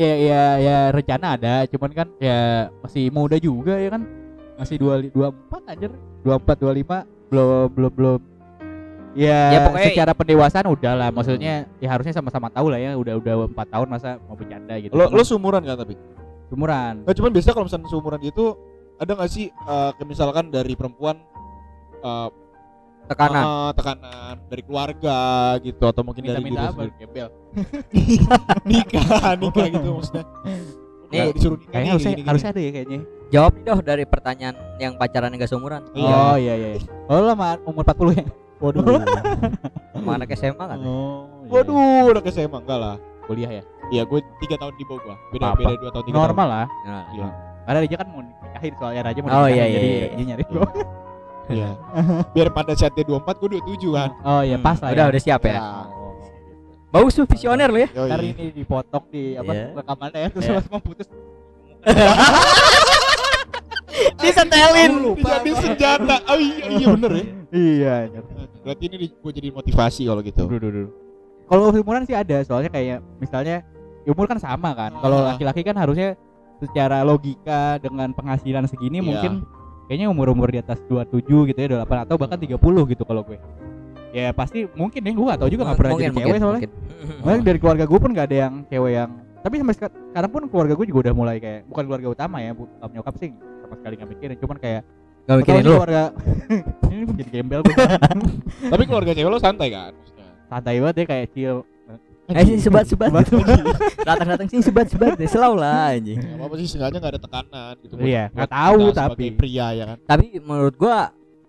ya ya ya rencana ada, cuman kan ya masih muda juga ya kan. Masih 2 24 anjir. 24 25 belum belum belum
Ya,
Ya,
pokoknya- Hmm.
secara pendewasaan udah lah maksudnya ya harusnya sama-sama tahu lah ya udah udah 4 tahun masa mau bercanda gitu.
Lo
Cuman
lo seumuran kan tapi?
umuran.
Nah, cuman biasa kalau misalnya seumuran gitu ada nggak sih eh, kayak misalkan dari perempuan eh,
ah.
Tekanan.
eh, tekanan dari keluarga gitu atau mungkin dari diri
Minta-minta apa?
sendiri? nikah nikah gitu maksudnya
Nih.
Nih, disuruh nikah
Kayaknya
nih,
harusnya
gini, gini.
harusnya ada ya kayaknya.
Jawab nih doh dari pertanyaan yang pacaran yang gak seumuran.
Iya.
Oh iya iya. Oh lo sama umur 40 ya.
waduh
Sama anak SMA kan?
Oh. Waduh.
waduh udah kayak saya emang enggak lah
Kuliah ya.
Iya, gue tiga tahun di bawah gua. Beda
Apa?
beda dua tahun tiga
Normal lah.
Nah,
Iya.
Karena Raja kan mau nikahin soalnya Raja mau
Oh,
nikahin,
iya, iya,
jadi
iya.
dia nyari
Iya. tahun. Iya. Biar pada saatnya dua empat, gue dua tujuh kan.
Oh iya pas lah
Udah
ya.
udah siap ya.
Oh,
Bagus tuh visioner lu ya.
yoi.
Ntar ini dipotong di apa
Iya.
rekamannya ya terus
Iya.
langsung putus.
Disetelin.
Dijadiin senjata. Oh iya, iya bener ya.
Iya.
Berarti ini di- gue jadi motivasi kalau gitu.
Dulu dulu. Kalau umuran sih ada soalnya kayak misalnya ya umur kan sama kan. Kalau
Ah.
laki-laki kan harusnya secara logika dengan penghasilan segini
Iya.
mungkin kayaknya umur-umur di atas 27 gitu ya 28 atau bahkan 30 gitu kalau gue. Ya pasti mungkin ya gue gak tau juga gak pernah jadi cewek soalnya. Makanya
Oh.
dari keluarga gue pun gak ada yang cewek yang tapi sampai seka- sekarang pun keluarga gue juga udah mulai kayak bukan keluarga utama ya bu- nyokap nyokap sih sama sekali nggak mikirin cuman kayak
Gak
"Tolong
mikirin
ini
lu.
keluarga ini gue jadi gembel gue
Tapi keluarga cewek lo santai kan? Maksudnya.
santai banget ya kayak chill
Eh sini sebat-sebat.
Sebat.
Datang-datang sini sebat-sebat deh, selalu lah anjing.
Gak Ya apa-apa sih, seenggaknya gak ada tekanan gitu. buat-
Iya,
buat
nggak tahu
kita sebagai
tapi.
pria ya kan.
Tapi menurut gua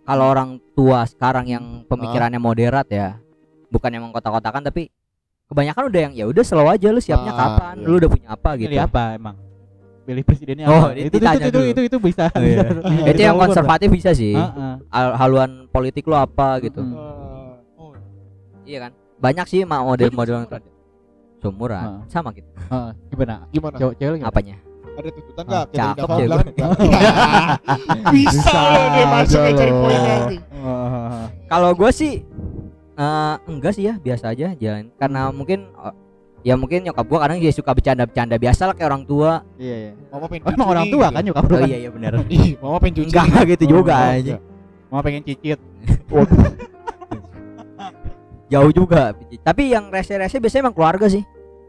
kalau orang tua sekarang yang
Oh.
pemikirannya moderat ya, bukan yang mengkotak-kotakan tapi kebanyakan udah yang ya udah slow aja lu siapnya
Ah,
kapan,
iya.
lu udah punya apa gitu.
pilih apa emang pilih presidennya
Oh,
apa?
di-
itu itu
ditanya
itu,
dulu.
itu itu bisa
Oh, iya.
bisa- bisa
Itu yang
dibawa,
konservatif bisa sih.
kan, Bro. Heeh.
al- haluan politik lo apa gitu
Mm.
Eh, oh,
iya kan banyak sih ma- model-model yang
Ah. Iya.
seumuran sama gitu
Heeh, gimana?
gimana?
Cewek cewek gimana?
Iya,
apanya
Ada tuntutan nggak?
Ah,
Kayak tadi
cakep
Dava
ya
bilang nggak.
Iya.
Iya. Bisa loh dia masuk
aja
iya, cari
loh.
poin nanti.
Heeh.
kalau gue sih eh, enggak sih ya biasa aja jalan karena mungkin eh, ya mungkin nyokap gue kadang dia suka bercanda-bercanda biasa lah kayak orang tua
Iya iya.
Mama pengen
Oh, emang
cuci
orang
nih,
tua
gitu.
kan nyokap lu
oh
kan?
iya iya bener
Ih, mama pengen cuci.
enggak enggak gitu
Oh,
juga
enggak.
aja
Mau pengen cicit.
jauh juga tapi yang rese-rese biasanya emang keluarga sih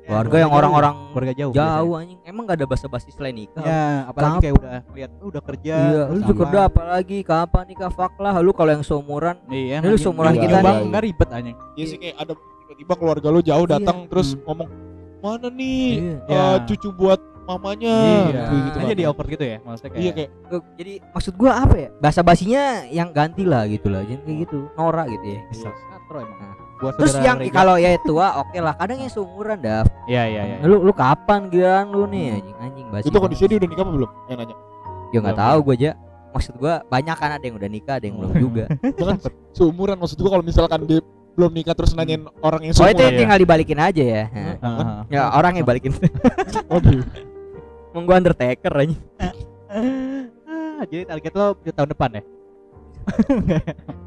keluarga yang orang-orang
keluarga jauh.
jauh anjing emang gak ada basa-basi selain nikah
biasanya. Ya, apalagi kayak udah lihat lu udah kerja.
iya
terus
lu juga
apa.
kerja apalagi kapan nikah fuck lah lu kalau yang seumuran
Iya,
Ini lu
anjing.
seumuran Gitu
Iya,
kita
bang,
nih.
enggak ribet anjing.
Iya sih kayak ada tiba-tiba keluarga lu jauh
Iya.
datang terus
Hmm.
ngomong mana nih
Iya.
eh,
Iya.
cucu buat mamanya.
Iya.
Gitu, gitu,
Aja
Bang.
di awkward gitu ya, maksudnya kayak.
Iya kayak
Tuh, jadi maksud gua apa ya bahasa basinya yang ganti lah gitu lah jangan kayak gitu norak gitu ya
Kesel. Katro Iya, emang.
Nah.
Gua
terus
saudara
yang
Rega.
kalau ya tua oke lah kadang yang seumuran dah
Iya iya iya. Hmm.
lu lu kapan gilaan lu nih anjing anjing basi
itu kondisinya dia udah nikah apa belum? Yang nanya.
ya nggak
Belum.
tahu gua aja maksud gua banyak kan ada yang udah nikah ada yang belum
Hmm.
juga
Jangan seumuran maksud gua kalau misalkan dia belum nikah terus nanyain orang yang
soalnya itu
iya.
seumuran.
yang tinggal dibalikin aja ya Nah,
Heeh, heeh.
ya orang yang balikin
Waduh.
emang gua undertaker aja
Ah, Jadi target lo di tahun depan ya?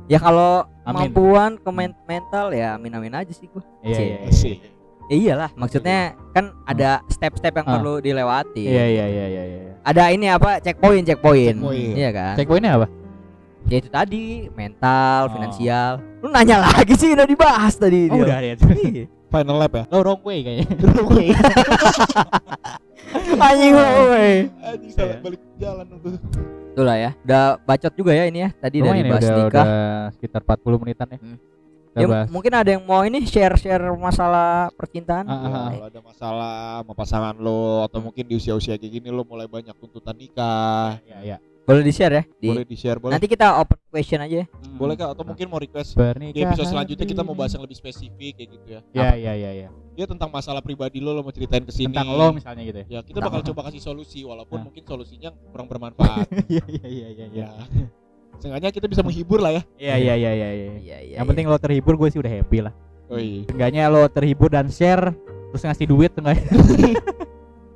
ya kalau
Amin.
kemampuan ke men- mental ya amin amin aja sih gua
Iya
Cek.
iya.
Asik.
ya iyalah maksudnya kan ada step-step yang
Ah.
perlu dilewati
Iya iya iya iya iya.
ada ini apa checkpoint checkpoint
Checkpoint.
iya kan
Checkpointnya apa?
ya itu tadi mental
Oh.
finansial lu nanya lagi sih udah dibahas tadi
Oh,
dia.
udah ya.
Iya.
Final lap ya.
Lo wrong way kayaknya.
anjing woi
Anjing salah
Iya.
balik jalan tuh.
itulah ya udah bacot juga ya ini ya tadi dari
Lumayan ya,
bahas
udah,
nikah
udah sekitar 40 menitan ya.
Hmm.
Udah
Ya,
bahas.
mungkin ada yang mau ini share share masalah percintaan
Ah, ah, ah.
Kalau ada masalah sama pasangan lo atau mungkin di usia-usia kayak gini lo mulai banyak tuntutan nikah,
Iya iya.
boleh di share ya di
boleh di-share, boleh.
nanti kita open question aja ya
Boleh kak atau mungkin mau request
Pernikahan.
di episode selanjutnya kita mau bahas yang lebih spesifik kayak gitu ya.
Iya.
Ya ya ya ya.
Ya tentang masalah pribadi lo lo mau ceritain ke sini.
Tentang lo misalnya gitu ya.
Ya kita
Tentang
bakal
lo.
coba kasih solusi walaupun
Nah.
mungkin solusinya kurang bermanfaat.
Iya iya iya iya iya.
ya. Seenggaknya kita bisa menghibur lah ya.
Iya iya iya iya. iya.
iya iya
Yang penting lo terhibur gue sih udah happy lah.
Oi.
Seenggaknya lo terhibur dan share terus ngasih duit enggak?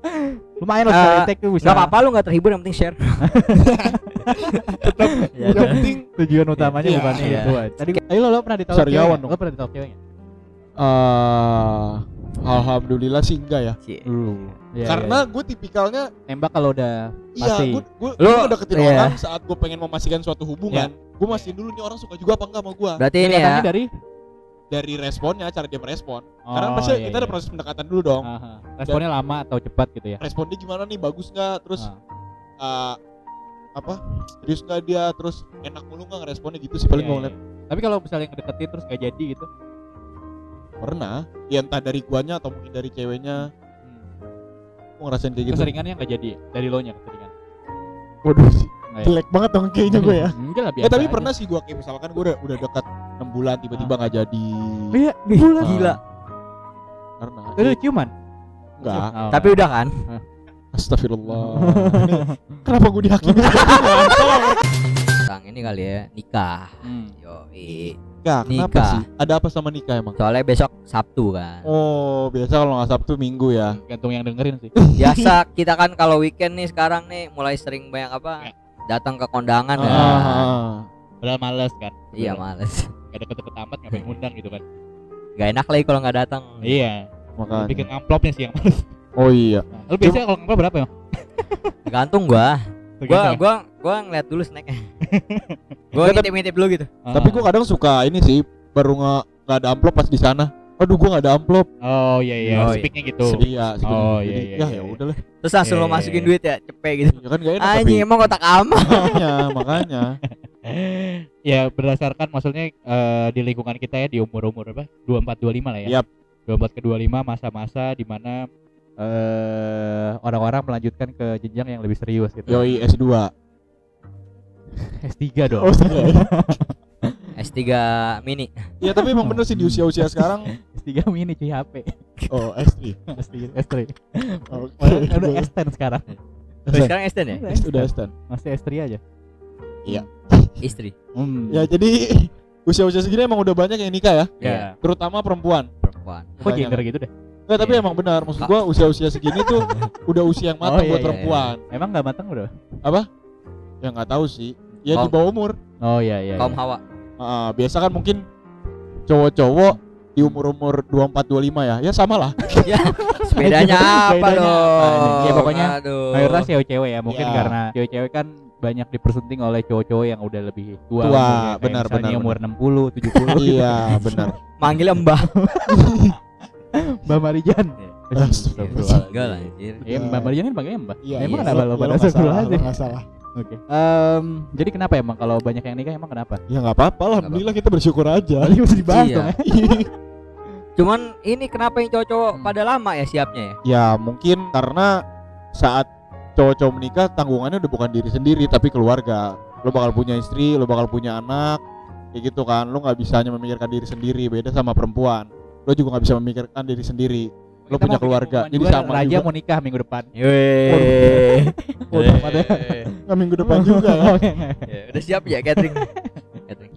Ah, Lumayan lo
Eh,
sekali take tuh bisa.
nggak apa apa lu nggak terhibur yang penting share
Tetap
Ya,
yang penting
Tujuan utamanya
Iya.
bukan
Iya.
itu. aja. Tadi ayo lo, lo pernah ditolak
Sariawan
cewek nggak?
dong.
Lo pernah ditolak cewek nggak?
eh alhamdulillah sih enggak ya.
Iya,
Karena
iya.
gue tipikalnya
nembak kalau udah
Iya,
Pasti.
gue gue
Lu-
gue ngedeketin
iya.
orang saat gue pengen memastikan suatu hubungan.
Iya.
Gue mastiin dulu nih orang suka juga apa enggak sama gue.
berarti ini ya
kelihatannya dari
Dari responnya, cara dia merespon.
Oh,
Karena pasti
iya,
kita
iya. Ah.
ada proses pendekatan dulu dong.
Aha. Responnya lama atau cepat gitu ya.
Respon dia gimana nih, bagus nggak? Terus eh,
Ah.
apa? Serius nggak dia? Terus enak mulu nggak ngeresponnya gitu sih paling gue
Iya, iya.
ngeliat.
Tapi kalau misalnya ngedeketin terus gak jadi gitu.
Pernah? Ya entah dari guanya atau mungkin dari ceweknya. Gue ngerasain kayak gitu.
Keseringannya gak jadi ya? dari lo nya keseringan.
Waduh,
Nggak ya?
jelek banget dong kayaknya gue ya.
Enggak lah biasa.
Ya tapi
aja.
pernah sih gue kayak misalkan gue udah, udah dekat 6 bulan tiba-tiba nggak jadi.
Iya,
Wih,
bulan.
gila
Karena
Itu ciuman.
enggak.
Oh.
tapi udah kan
Astagfirullah. Ini Kenapa gue dihakimi?
sekarang ini kali ya nikah
Hmm.
yo
Enggak, kenapa
Nikah.
sih? Ada apa sama nikah emang?
soalnya besok Sabtu kan
Oh, biasa kalau nggak Sabtu Minggu ya.
Gantung yang dengerin sih.
biasa kita kan kalau weekend nih sekarang nih mulai sering banyak apa
Eh.
datang
Nah.
ke kondangan
Ah,
kan
ah, ah.
Padahal males kan.
iya males
Gak deket-deket amat ngapain ngundang gitu kan.
gak enak lagi kalau nggak datang
Iya.
Makanya.
Bikin amplopnya sih yang males.
Oh iya.
Nah, Lu biasanya kalau amplop berapa ya?
gantung gua gua
Tergantung ya?
gua gua ngeliat dulu snacknya gua ngintip ngintip dulu gitu
Ah.
Tapi gue kadang suka ini sih baru nggak nggak ada amplop pas di sana. Aduh, gue nggak ada amplop.
Oh iya iya,
Oh, iya.
speaknya gitu.
Iya, segini.
Oh,
Jadi,
iya, iya,
ya
iya,
ya
iya.
udah lah.
terus langsung
Iya,
lo
iya,
masukin
iya.
duit ya cepet gitu
Ya kan gak enak
anjing
tapi.
emang kotak amal
Makanya, makanya.
ya berdasarkan maksudnya eh, di lingkungan kita ya di umur-umur apa? 24 25 lah ya.
Yap.
24 ke 25 masa-masa di mana eh orang-orang melanjutkan ke jenjang yang lebih serius gitu.
Yoi S2.
S3 dong.
Oh, iya.
S3 mini
Ya tapi emang bener sih di usia-usia sekarang.
S3 mini cuy HP.
Oh, S3.
S3 S3.
Oke.
Padahal udah S10 sekarang.
Iya.
Terus sekarang S10 ya
S- Udah S10.
Masih S3 aja.
Iya.
istri.
Hmm.
Ya jadi usia-usia segini emang udah banyak yang nikah ya,
Iya.
terutama perempuan.
Perempuan.
Kok
Banyak.
gender gitu deh?
Enggak, tapi
Iya.
emang benar. Maksud gua usia-usia segini tuh udah usia yang matang
Oh, iya,
buat
iya,
perempuan.
Emang nggak matang udah?
Ya nggak tahu sih. Ya di
Kaum-
bawah umur.
Oh iya iya.
Kaum hawa.
Ah, biasa kan mungkin cowok-cowok di umur-umur 24 25 ya. Ya sama lah.
ya, sepedanya apa
Sepedanya apa
dong?
nih? Ya, pokoknya
Aduh.
Mayoritas cewek-cewek ya, mungkin
Iya.
karena cewek-cewek kan banyak dipersunting oleh cowok-cowok yang udah lebih
Tua,
tua. umurnya. Kayak
benar,
misalnya
benar,
umur 60, 70 gitu.
iya, benar.
manggil Mbah.
Mbak Marijan.
Iya. Astagfirullah.
Enggak lah anjir.
Ya, Mbak Marijan kan panggilnya Mbak.
Iya,
emang
iya.
kenapa lo
Ya,
pada
nggak
satu
salah,
aja?
lo nggak salah.
Oke. Em, jadi kenapa emang kalau banyak yang nikah emang kenapa?
Ya nggak apa-apa lah, alhamdulillah kita bersyukur aja.
Tadi mesti dibahas
Iya.
dong ya.
Cuman ini kenapa yang cowok-cowok
Hmm.
pada lama ya siapnya ya?
ya mungkin karena saat cowok-cowok menikah tanggungannya udah bukan diri sendiri tapi keluarga. Lo bakal punya istri, lo bakal punya anak, kayak gitu kan. Lo nggak bisa hanya memikirkan diri sendiri. Beda sama perempuan. Lo juga nggak bisa memikirkan diri sendiri. Lo
Kita
punya
mau
keluarga,
bikin
jadi
pengumuman
sama
juga, Raja
juga. Eh.
mau nikah minggu depan.
Yeay.
Bodoh amat ya. Nggak minggu depan juga ya.
Oke.
Ya, udah siap ya catering. catering.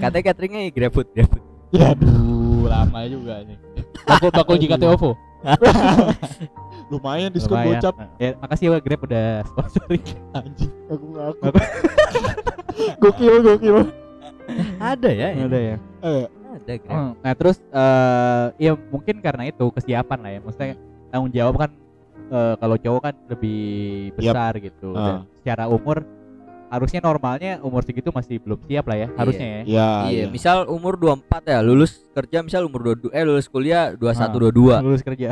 Katanya cateringnya GrabFood, GrabFood.
Ya,
Aduh, lama juga nih. Bakul bakul jika TOVO.
lumayan diskon
Lumayan.
gocap
Ya, makasih ya Grab udah sponsoring.
anjing. Aku ngaku. gokil, gokil.
Ada ya?
Udah ya.
Eh,
Ada Grab.
Hmm, Nah terus eh ya mungkin karena itu kesiapan lah ya. Maksudnya tanggung jawab kan eh, kalau cowok kan lebih besar gitu. Dan secara umur harusnya normalnya umur segitu masih belum siap lah ya harusnya
ya,
ya.
iya,
iya.
misal umur 24 ya, lulus kerja misal umur 22 eh lulus kuliah 21
Ah.
22.
Lulus kerja.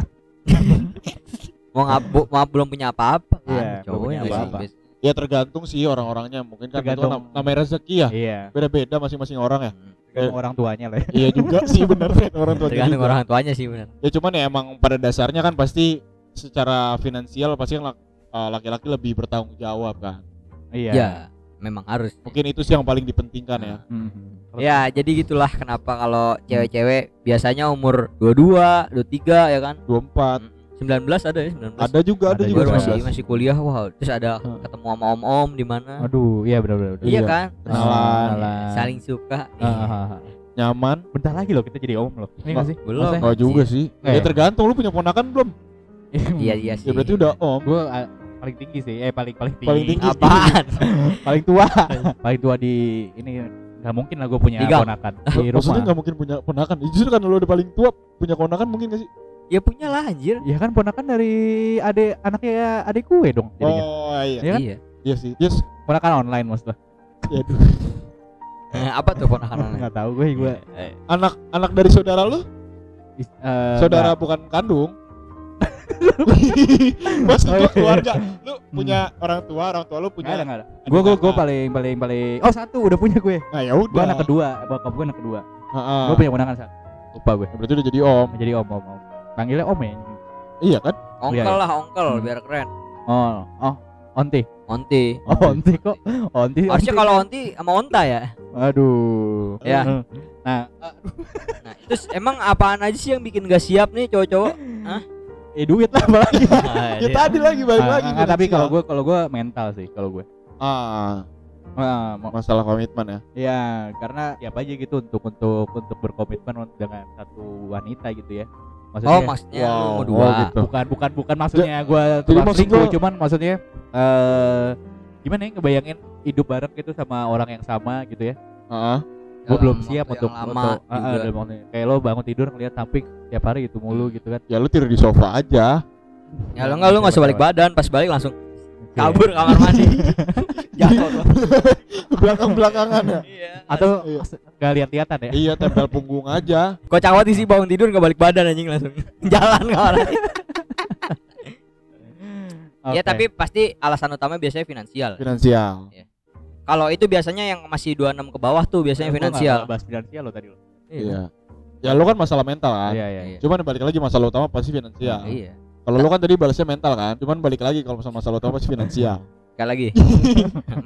Mau ngabu mau belum punya apa-apa.
Iya, belum
cowok
punya
ya sih.
apa-apa.
Bias-
Ya tergantung sih orang-orangnya. Mungkin kan itu
Tergantung.
nam- namanya rezeki ya.
Iya.
Beda-beda masing-masing orang ya.
Sama orang tuanya lah. Ya.
Iya juga sih benar orang tua gitu.
Tergantung orang tuanya sih benar.
ya cuman ya emang pada dasarnya kan pasti secara finansial pasti yang lak- eh, laki-laki lebih bertanggung jawab kan
Iya.
Iya, memang harus.
mungkin itu sih yang paling dipentingkan ya
Mhm.
Ya, jadi gitulah kenapa kalau cewek-cewek biasanya umur 22, 23 ya kan.
24
19 ada ya, 19.
ada juga ada,
Ada
juga
Baru masih
19.
masih kuliah. Wah, terus ada
Hmm.
ketemu sama om-om di mana.
Aduh, iya benar-benar.
Iya
iya.
kan?
Terus
Kenalan.
kenalan.
Saling suka.
Ah, ah, ah.
nyaman
Bentar lagi loh kita jadi om loh. Iya nggak sih?
belum.
Maksudnya-
enggak juga sih
Eh.
ya tergantung lu punya ponakan belum
Iya, iya sih.
ya berarti udah om
Gue ah, paling tinggi sih. Eh paling paling tinggi.
Paling tinggi.
Apaan?
paling tua paling tua di ini nggak mungkin lah gue punya
Di gang.
ponakan di
Maksudnya
rumah
maksudnya nggak mungkin punya ponakan Ya, justru kan lu udah paling tua punya ponakan mungkin gak sih
ya punya lah anjir.
ya kan ponakan dari ade anaknya ya, adik gue dong jadinya
oh iya
Ya kan?
Iya.
iya sih yes
ponakan online maksudnya
ya, aduh.
Eh, apa tuh Eh, ponakan
nggak tahu gue gue
anak anak dari saudara lu
is- eh,
saudara
nggak.
bukan kandung maksud gua keluarga lu punya orang tua orang tua lu
Oh, iya. Hmm. nggak ada
punya
nggak ada gue gue gue
kakak.
paling paling paling oh satu udah punya gue
nah ya
gue
udah Ah.
anak kedua bokap gue anak kedua
Heeh.
gue punya ponakan satu lupa gue
Ya, Berarti udah jadi om.
jadi om om om panggilnya om ya
Iya kan?
Iya,
Ongkel
iya.
lah, ongkel
Hmm.
biar keren.
oh oh onti
Onti.
oh onti iya. kok onti
Harusnya
onti.
kalau onti sama onta ya.
aduh
Ya.
nah
Nah, terus emang apaan aja sih yang bikin gak siap nih cowok-cowok?
eh duit lah apalagi
Nah,
Ya
dia-
tadi lagi Iya. balik
Ah,
lagi.
enggak, tapi
finansial.
kalau gue kalau gue mental sih kalau gue
ah
Ah, mau-
masalah komitmen ya.
ya karena ya apa aja gitu untuk untuk untuk berkomitmen dengan satu wanita gitu ya maksudnya
Oh, maksudnya lu mau dua.
oh gitu.
bukan bukan bukan maksudnya gue
jadi
tukang
maksud
selingkuh
lu-
cuman maksudnya eh gimana ya ngebayangin hidup bareng gitu sama orang yang sama gitu ya
Heeh.
gue
Dalam
belum
waktu
siap
yang
untuk
lama
untuk ah, ah,
juga.
dalam waktu- kayak lo bangun tidur ngeliat samping tiap hari gitu mulu gitu kan
Ya lu tidur di sofa aja.
Ya lu enggak lu enggak usah balik badan, pas balik langsung
Iya. Oke.
kabur kamar mandi. Jatuh tuh.
Belakang-belakangan ya.
Iya.
atau
Iya.
nggak lihat-lihatan ya
iya, tempel punggung aja.
Kocawat isi bangun tidur enggak balik badan anjing langsung. Jalan kamar mandi. Ya
Oke. Iya.
tapi pasti alasan utama biasanya finansial.
Finansial.
Kalau itu biasanya yang masih 26 ke bawah tuh
Nah,
biasanya
Gua nggak
finansial.
bahas finansial lo tadi lo
Iya. Ya lu kan masalah mental kan.
iya iya
Iya.
Cuman balik lagi masalah utama pasti finansial.
Iya.
Kalau lu kan tadi balasnya mental kan. Cuman balik lagi kalau masalah masalah utama pasti finansial.
Sekali lagi.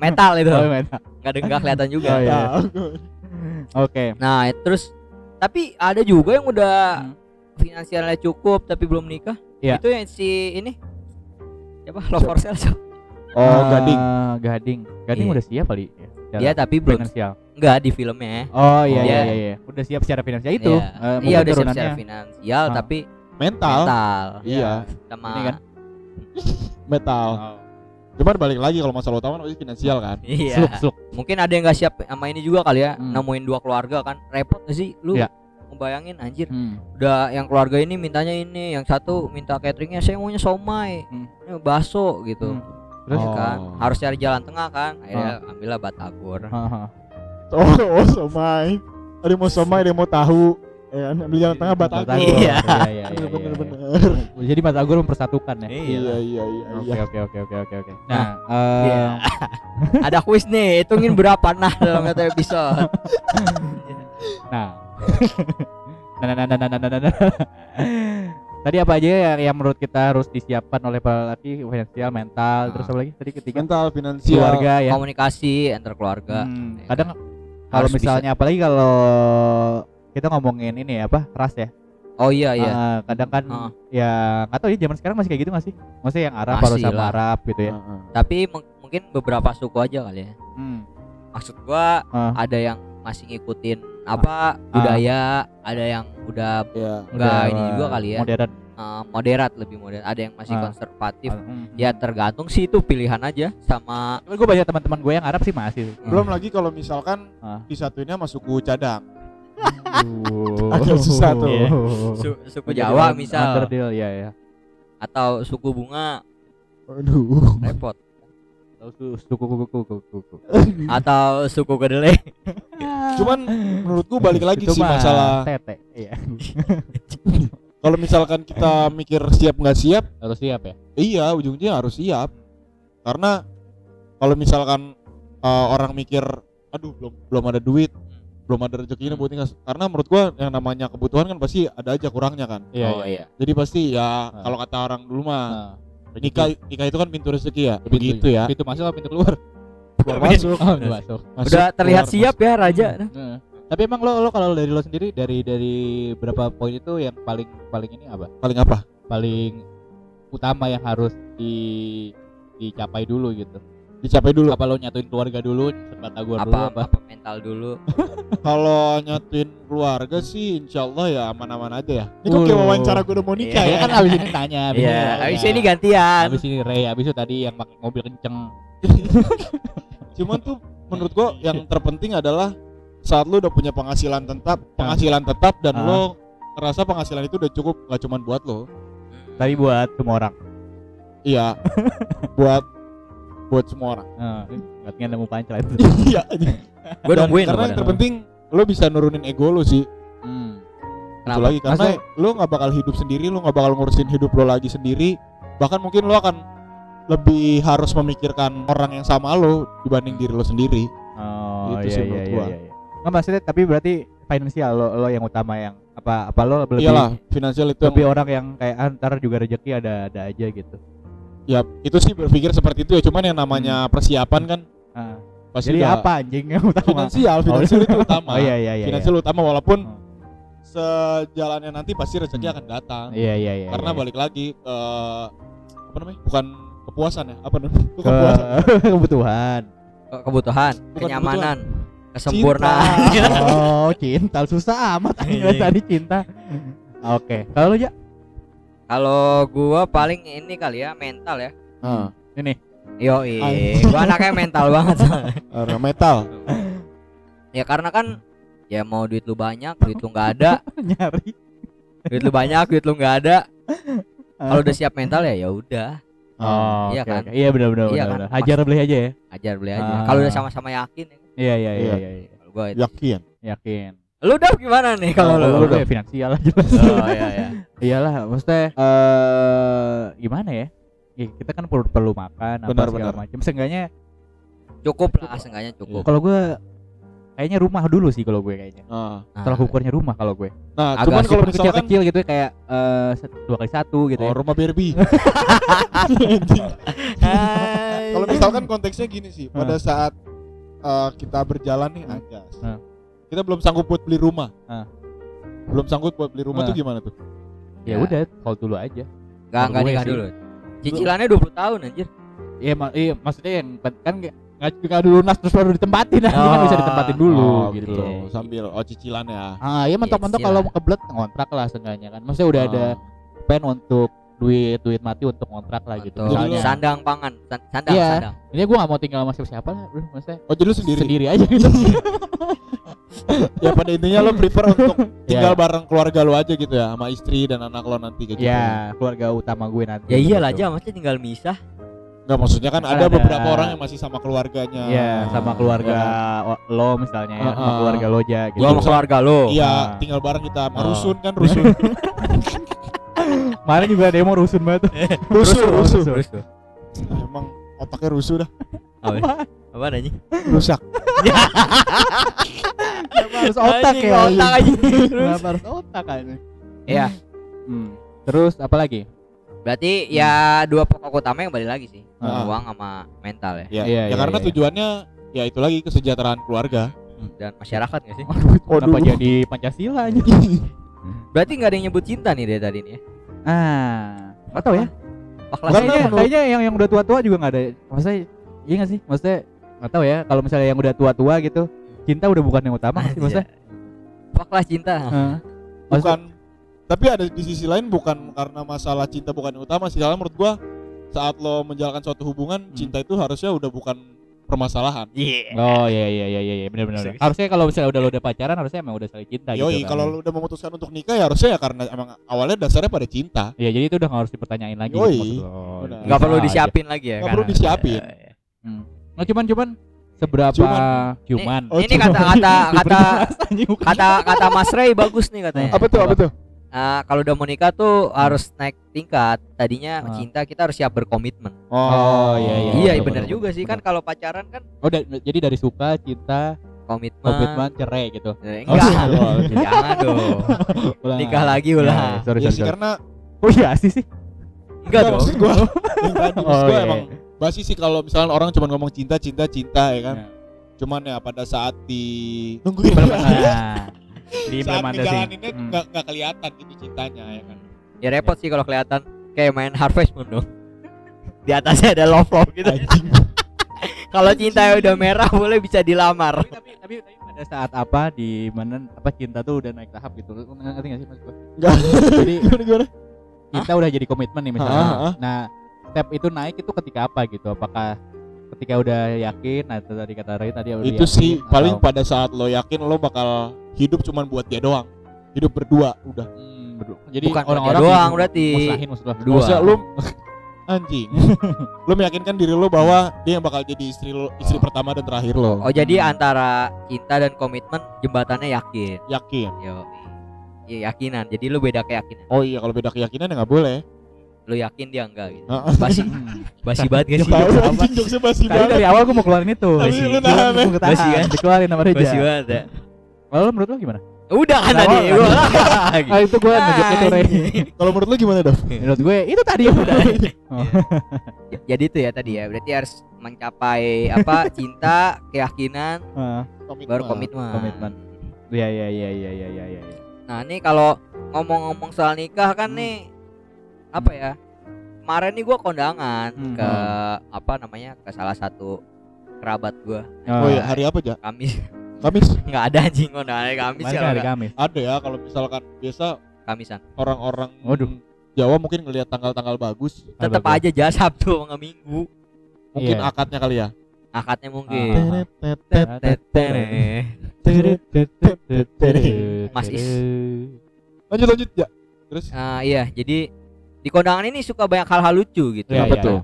Metal itu.
Oh, mental.
Enggak ada enggak kelihatan juga.
Oh, iya.
Ya,
Oke.
Nah, terus tapi ada juga yang udah
Hmm.
finansialnya cukup tapi belum nikah.
Iya.
Itu yang si ini siapa love for sale.
Oh, gading.
Ah, Gading. Gading
Iya.
udah siap kali. ya?
Dia Iya, tapi belum
finansial.
enggak di filmnya.
Oh iya
Dia-
iya iya, iya. Udah siap secara finansial itu.
Iya,
eh, mungkin
Iya, udah siap
turunannya.
secara finansial
Ah.
tapi
mental,
mental
iya
sama
Ini kan?
mental
Oh.
cuman balik lagi kalau masalah utama pasti finansial kan
Iya.
Sluk sluk.
Mungkin ada yang nggak siap sama ini juga kali ya,
Hmm.
nemuin dua keluarga kan. Repot nggak sih lu?
Iya.
Ngebayangin anjir,
Hmm.
udah yang keluarga ini mintanya ini, yang satu minta cateringnya saya maunya somai,
Hmm.
ini baso gitu.
Hmm. Ah. Terus?
Ya kan
Oh.
harus cari jalan tengah kan. Akhirnya ambillah batagor.
Haha.
oh, oh somai ada yang mau somai ada yang mau tahu ya kan ambil jalan tengah batagor
Batagor.
Iya.
iya, iya,
bener bener
iya.
bener
Jadi batagor mempersatukan ya.
iya iya iya
Oke
iya
oke oke oke oke oke. Nah,
Iya.
eh
Ada kuis nih, hitungin berapa nah dalam satu episode.
nah. nah, nah, nah, nah, nah, nah, nah, nah. Tadi apa aja ya yang, yang menurut kita harus disiapkan oleh pelatih finansial,
Nah.
mental, terus apa lagi? Tadi ketiga
mental finansial
keluarga ya.
Komunikasi antar keluarga.
Hmm,
Ya
kadang
kan?
kalau
Harus bisa.
misalnya apalagi kalau kita ngomongin ini ya, apa ras ya
Oh iya iya.
Ah, kadang kan
Ah.
ya nggak tahu ya zaman sekarang masih kayak gitu masih maksudnya yang Arab
Masih
harus sama
lah.
Arab gitu ya
Heeh.
Tapi mung- mungkin beberapa suku aja kali ya.
hmm.
Maksud gua
Ah.
ada yang masih ngikutin apa budaya, ada yang udah
Iya.
Hmm.
Nggak, ini juga kali ya.
modern
eh, moderat lebih moderat, ada yang masih
Ah.
konservatif.
Hmm.
Ya tergantung sih itu pilihan aja sama
Cuman gue banyak teman-teman gue yang Arab sih masih
belum lagi kalau misalkan
Ah.
disatuinnya sama suku cadang
Aduh.
susah tuh.
Iya.
su- suku
Menjadi
Jawa
un-
misal
underdeal, ya ya
atau suku bunga
aduh
repot
Atau su- suku kuku kuku kuku
atau suku kedelai.
cuman menurutku balik lagi sih masalah
tete iya
kalau misalkan kita mikir siap nggak siap
harus siap ya
Iya, ujung-ujungnya harus siap. Karena kalau misalkan uh, orang mikir, aduh belum belum ada duit, belum ada rezeki ini buat nikah. Karena menurut gua yang namanya kebutuhan kan pasti ada aja kurangnya kan.
oh iya.
Jadi pasti ya kalau kata orang dulu mah
Ah.
nikah nikah itu kan Nah, pintu rezeki ya. Begitu ya.
pintu masuk apa pintu keluar
Keluar masuk,
oh, pintu masuk
masuk,
Udah terlihat
keluar,
siap ya raja.
Heeh. Tapi emang lo lo kalau dari lo sendiri dari dari berapa poin itu yang paling paling ini apa?
masuk. Paling apa?
Paling utama yang harus di dicapai dulu gitu.
Dicapai dulu.
Apa lo nyatuin keluarga dulu, sempat gue dulu
apa,
apa?
apa mental dulu.
Kalau nyatuin keluarga sih insya Allah ya aman-aman aja ya. Ini kok
Wuh.
kayak wawancara gua udah mau nikah
Ya
ya.
kan abis ini tanya, abis
Iya,
ini
habis
tanya.
ini gantian.
Abis ini Ray, abis itu tadi yang pakai mobil kenceng.
Cuman tuh menurut gua yang terpenting adalah saat lu udah punya penghasilan tetap, penghasilan tetap dan
Ah.
lo ngerasa penghasilan itu udah cukup gak cuman buat lo.
Tapi buat semua orang.
Iya. buat buat semua orang.
Katanya nemu pancelan.
Iya.
Gue
Dan
nungguin
karena
loh,
yang
padahal.
terpenting lo bisa nurunin ego lo sih.
Hmm.
Itu
Kenapa?
lagi karena lo nggak bakal hidup sendiri, lo nggak bakal ngurusin hidup lo lagi sendiri. Bahkan mungkin lo akan lebih harus memikirkan orang yang sama lo dibanding diri lo sendiri.
Oh
Itu sih menurut gua.
iya. Nggak maksudnya tapi berarti finansial lo lo yang utama yang apa apa lo lebih
Iyalah, finansial itu yang-
lebih orang yang kayak antar juga rezeki ada ada aja gitu.
ya itu sih berpikir seperti itu ya. Cuman yang namanya persiapan kan
Ah,
pasti
jadi
udah-
apa anjing yang utama?
finansial finansial itu utama
Oh iya iya iya.
finansial utama walaupun
Hmm.
sejalannya nanti pasti rezeki akan datang
Iya iya iya.
karena
iya.
balik lagi ke apa namanya bukan kepuasan ya apa namanya Bukan kepuasan
Ke- kebutuhan.
Ke- kebutuhan,
Bukan
kenyamanan, kesempurnaan.
Oh, cinta susah amat anjing
Iya.
tadi cinta. Oke, kalau lu ya
Kalau gua paling ini kali ya mental ya.
Ah,
ini nih.
Yo, gua anaknya mental banget. soalnya.
era metal
ya karena kan ya mau duit lu banyak, duit lu nggak ada,
nyari.
duit lu banyak, duit lu nggak ada. Kalau udah siap mental ya ya udah,
Hmm.
Oh, iya
Iya kan?
kan? Iya benar benar
Iya
benar.
kan?
benar. Hajar beli aja ya.
ajar beli aja.
Ah.
Kalau udah sama-sama yakin ya.
Iya iya iya
Iya.
iya. iya.
Kalau gua itu.
yakin
Yakin.
Lu udah gimana nih kalau lu?
Kalau lu ya finansial lah jelas.
Oh iya iya.
Iyalah, maksudnya eh gimana ya? Ya, kita kan perlu perlu makan apa
Benar,
segala
benar.
macam. Seenggaknya
Cukup lah, seenggaknya cukup.
kalau gue kayaknya rumah dulu sih kalau gue kayaknya.
Ah.
Nah,
Tolak ukurnya rumah kalau gue.
nah
Agak
cuman kalau
Agak super
misalkan
kecil-kecil gitu ya, kayak eh satu- dua kali satu gitu
oh,
ya.
rumah Barbie
Hai.
kalau misalkan konteksnya gini sih pada saat eh, kita berjalan nih
Hmm.
aja
Hmm.
kita belum sanggup buat beli rumah
Ah.
belum sanggup buat beli rumah
Ah.
tuh gimana tuh
Ya
Ya.
udah, hold dulu aja.
Gak,
Kalau
gak
gue
nikah
sih.
dulu. Cicilannya 20 tahun anjir.
Iya, ma- iya maksudnya yang kan kan nggak nggak nggak juga dulu lunas terus baru ditempatin nah, ini kan bisa ditempatin dulu
Oh,
gitu.
gitu. Sambil oh cicilan ya.
Ah, iya mentok-mentok
Iya,
kalau mau kebelet ngontrak lah setengahnya kan. Maksudnya udah ada
Ah.
pen untuk duit duit mati untuk kontrak lah gitu.
Betul.
Jadi lu-
Misalnya,
sandang pangan, san- sandang,
Iya.
sandang.
ini gue gak mau tinggal sama siapa siapa lah, bro. Maksudnya
Oh jadi lu sendiri.
sendiri aja gitu.
ya pada intinya lu prefer untuk tinggal
Iya.
bareng keluarga lu aja gitu ya sama istri dan anak lo nanti kayak gitu.
ya keluarga utama gue nanti.
Ya iyalah
Gitu.
aja maksudnya tinggal misah.
Enggak maksudnya kan ada,
Ada-
beberapa orang yang masih sama keluarganya.
Iya, sama keluarga o- lo misalnya ya, sama
Ah, ah.
keluarga lo aja gitu.
Iya. Gua sama keluarga lo.
Iya,
Ah.
tinggal bareng kita sama
Oh.
rusun kan rusun.
Kemarin juga demo rusun banget.
Eh,
rusun, rusun.
Terus tuh.
Ah, emang otaknya rusuh dah,
Apa? Apa nanya?
rusak.
Kenapa harus otak
Anjing,
ya?
Otak aja. Terus.
Kenapa harus otak kan?
Iya.
Hmm. Terus apa lagi?
Berarti ya dua pokok utama yang balik lagi sih.
Ah.
Uang sama mental ya
Ya,
Iya,
ya
iya,
karena
iya.
tujuannya ya itu lagi kesejahteraan keluarga.
dan masyarakat gak sih?
Kenapa jadi Pancasila aja?
Berarti nggak ada yang nyebut cinta nih dari tadi nih. ya?
Ah, nggak tahu ya.
Pahlawan
Karena
Kayaknya,
menurut-
kayaknya yang yang udah tua-tua juga nggak ada. Maksudnya, iya nggak sih? Maksudnya nggak tahu ya. Kalau misalnya yang udah tua-tua gitu, cinta udah bukan yang utama nggak sih maksudnya. Ah.
Paklah cinta.
Heeh. Maksudnya-
Bukan tapi ada di sisi lain bukan karena masalah cinta bukan yang utama sih. Karena menurut gua saat lo menjalankan suatu hubungan,
Hmm.
cinta itu harusnya udah bukan permasalahan.
Iya.
Oh iya iya iya iya iya benar benar.
Bisa, bisa.
Harusnya kalau misalnya udah lo udah pacaran harusnya emang udah saling
Yoi,
cinta gitu. kan.
kalau lu udah memutuskan untuk nikah ya harusnya ya karena emang awalnya dasarnya pada cinta.
Iya jadi itu udah nggak harus dipertanyain lagi.
Yoi.
maksud lo.
Benar.
Nggak perlu
Bisa aja.
disiapin lagi ya.
Nggak perlu
karena-
disiapin.
Iya,
Nah Iya, cuman cuman seberapa
Cuman.
cuman.
Oh,
ini kata kata kata kata kata Mas Ray bagus nih katanya.
Eh, Apa tuh? Apa tuh?
Ah, kalau udah mau nikah tuh harus naik tingkat. Tadinya
Ah.
cinta kita harus siap berkomitmen.
Oh, iya, iya.
iya,
betul,
benar
betul,
juga sih kan
betul.
kalau pacaran kan
Oh da- jadi dari suka, cinta,
komitmen.
komitmen, cerai gitu.
Eh,
Oh,
enggak.
iya.
Jangan dong.
Ulang.
Nikah lagi
Ya,
ulah.
ya, sorry,
Iya
sorry,
sih,
sorry.
karena
Oh iya sih sih.
Enggak
Enggak,
dong.
maksud gua. yang tadi maksud
Oh,
gua
iya,
emang basi sih kalau misalnya orang cuma ngomong cinta cinta cinta ya kan.
Iya.
Cuman ya pada saat di Iya, nungguin
Nah,
saat dijalaninnya
Hmm.
nggak nggak kelihatan gitu cintanya ya kan.
Ya repot sih kalau kelihatan kayak main Harvest Moon dong. Di atasnya ada love love gitu. kalau cinta udah merah boleh bisa dilamar.
Tapi, tapi, tapi, tapi pada saat apa di mana apa cinta tuh udah naik tahap gitu. Lu ngerti gak sih maksud gua?
Nggak.
Jadi
Gimana gimana?
cinta udah jadi komitmen nih misalnya.
Ah, ah, ah.
Nah, step itu naik itu ketika apa gitu? Apakah ketika udah yakin nah itu tadi kata Ray tadi udah
Itu
yakin,
sih
atau-
paling pada saat lo yakin lo bakal hidup cuman buat dia doang. Hidup berdua udah.
Hmm, berdua. Jadi
Bukan
orang-orang
berdua doang,
gitu,
berarti.
musnahin maksud gua.
Dua.
Maksudnya lo anjing. lo meyakinkan diri lo bahwa dia yang bakal jadi istri lo, istri
Oh.
pertama dan terakhir lo.
Oh jadi
Hmm.
antara cinta dan komitmen jembatannya yakin.
Yakin.
Yo. Iya yakinan. Jadi lu beda keyakinan.
Oh iya kalau beda keyakinan ya nggak boleh.
Lu yakin dia enggak gitu.
Heeh. Ya,
Basi
Hmm.
basi banget gak sih?
Tahu anjing jokesnya basi
Tadi
banget.
dari awal gua mau keluarin itu.
Tapi lu eh. nahan,
Gua ketahan.
Basi kan?
Dikeluarin sama Reja.
Basi banget ya.
Kalau lu menurut lu gimana?
Udah kan tadi.
Awal
Gua- Gitu.
Ah itu gua nunjuk itu Ray.
Kalau menurut lo gimana Dav?
Iya.
Menurut gue itu tadi yang udah.
Jadi itu ya tadi ya. Berarti harus mencapai apa? Cinta, keyakinan,
Ah,
baru komitmen.
Komitmen. Iya iya iya iya iya iya iya.
Nah, ini kalau ngomong-ngomong soal nikah kan
Hmm.
nih apa ya? Kemarin nih gua kondangan
Hmm.
ke apa namanya? ke salah satu kerabat gua
Oh
Ah.
iya, hari apa aja?
Kamis.
Kamis.
nggak ada anjing kondangan Kamis
Kemarin
ya.
kan hari Kamis.
Ada ya kalau misalkan biasa
Kamisan.
orang-orang
Waduh.
Jawa mungkin ngelihat tanggal-tanggal bagus,
Tetap
Apa
aja jasa Sabtu sama Minggu.
mungkin
Iya.
akadnya kali ya.
Akadnya
Ah.
mungkin.
Teretetet.
Teteh. Mas Is.
Lanjut lanjut ya. Terus
Ah, iya, jadi di kondangan ini suka banyak hal-hal lucu gitu.
Iya,
apa
iya.
tuh?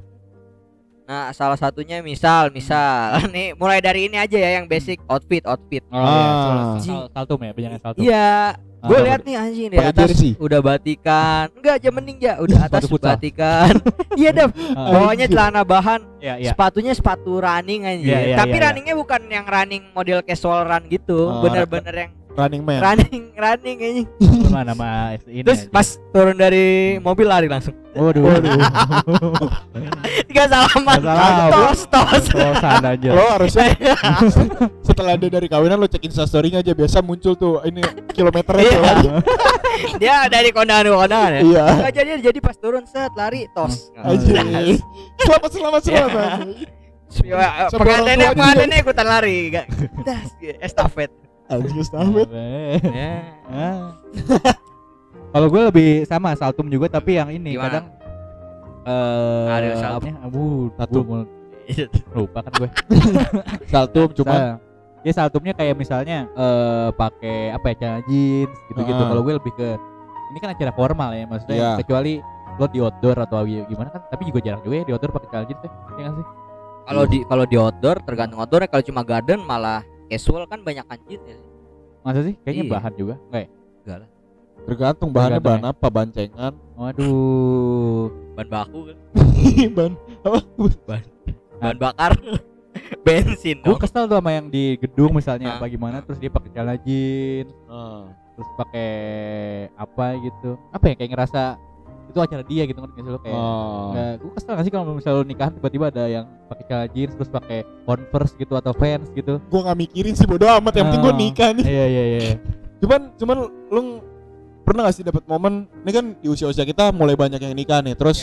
Nah, salah satunya misal, misal nih mulai dari ini aja ya yang basic outfit, outfit.
Oh iya,
Ah.
sal- saltum ya, penjangan saltum.
Iya,
Ah,
gue
apa
lihat nih anjing dari
Pakai
atas
jersey.
udah batikan. Enggak, aja mending ya udah atas
Sepatu futsal.
batikan. iya, Dap.
Ah,
Bawahnya celana bahan,
Iya iya.
sepatunya sepatu running anjing.
Iya, iya, iya, Oh,
Tapi
iya.
runningnya bukan yang running model casual run gitu,
Ah,
bener-bener yang
Running Man.
running running anjing.
Cuma nama ini. aja.
Terus pas turun dari mobil lari langsung.
Waduh.
Tiga salaman.
Nggak Iya. salaman.
Tos tos.
Tosan aja.
Iya.
Lo harusnya setelah dia dari kawinan lo cek instastorynya aja biasa muncul tuh ini kilometernya
Iya.
tuh lari.
Dia dari kondangan ke kondangan ya.
Iya.
Enggak jadi jadi pas turun set lari tos.
Ya.
Anjir. Selamat selamat selamat.
Siwa-
Sebelum
Pengantinnya
tua juga.
pengantinnya ikutan lari gak Das, estafet.
Anjing Ustaz.
Ya.
Ah. Kalau gue lebih sama saltum juga tapi yang ini
Gimana?
kadang eh
Ada saltum.
apanya? Aduh,
Saltum.
gua mau- lupa kan gue.
Saltum cuman
Sa- ya saltumnya kayak misalnya eh pakai apa ya celana jeans gitu-gitu.
Ah.
Kalau gue lebih ke ini kan acara formal ya maksudnya
Iya.
kecuali lo di outdoor atau gimana kan tapi juga jarang juga ya di outdoor pakai celana jeans deh. Ya nggak sih?
Kalau di kalau di outdoor tergantung outdoor kalau cuma garden malah casual kan banyak kanjit ya.
Masa sih? Kayaknya
Iya.
bahan juga. Enggak ya?
tergantung bahannya
Tergantung
bahan
ya.
apa, bancengan.
Waduh.
Ban baku kan.
bahan
Ban bakar. Bensin
Gue
dong.
kesel tuh sama yang di gedung misalnya
Ah.
apa gimana terus dia pakai celana jeans
Ah,
terus pakai apa gitu apa ya kayak ngerasa itu acara dia gitu ngerti nggak sih lo kayak
ah.
nggak gue Nah, kesel nggak sih kalau misalnya lo nikahan tiba-tiba ada yang pakai celana jeans terus pakai converse gitu atau fans gitu
Gua nggak mikirin sih bodo amat, yang penting gua
Ah.
nikah nih.
iya iya iya
Cuman cuman lu ng- pernah gak sih dapat momen ini kan di usia-usia kita mulai banyak yang nikah nih.
Ya.
Terus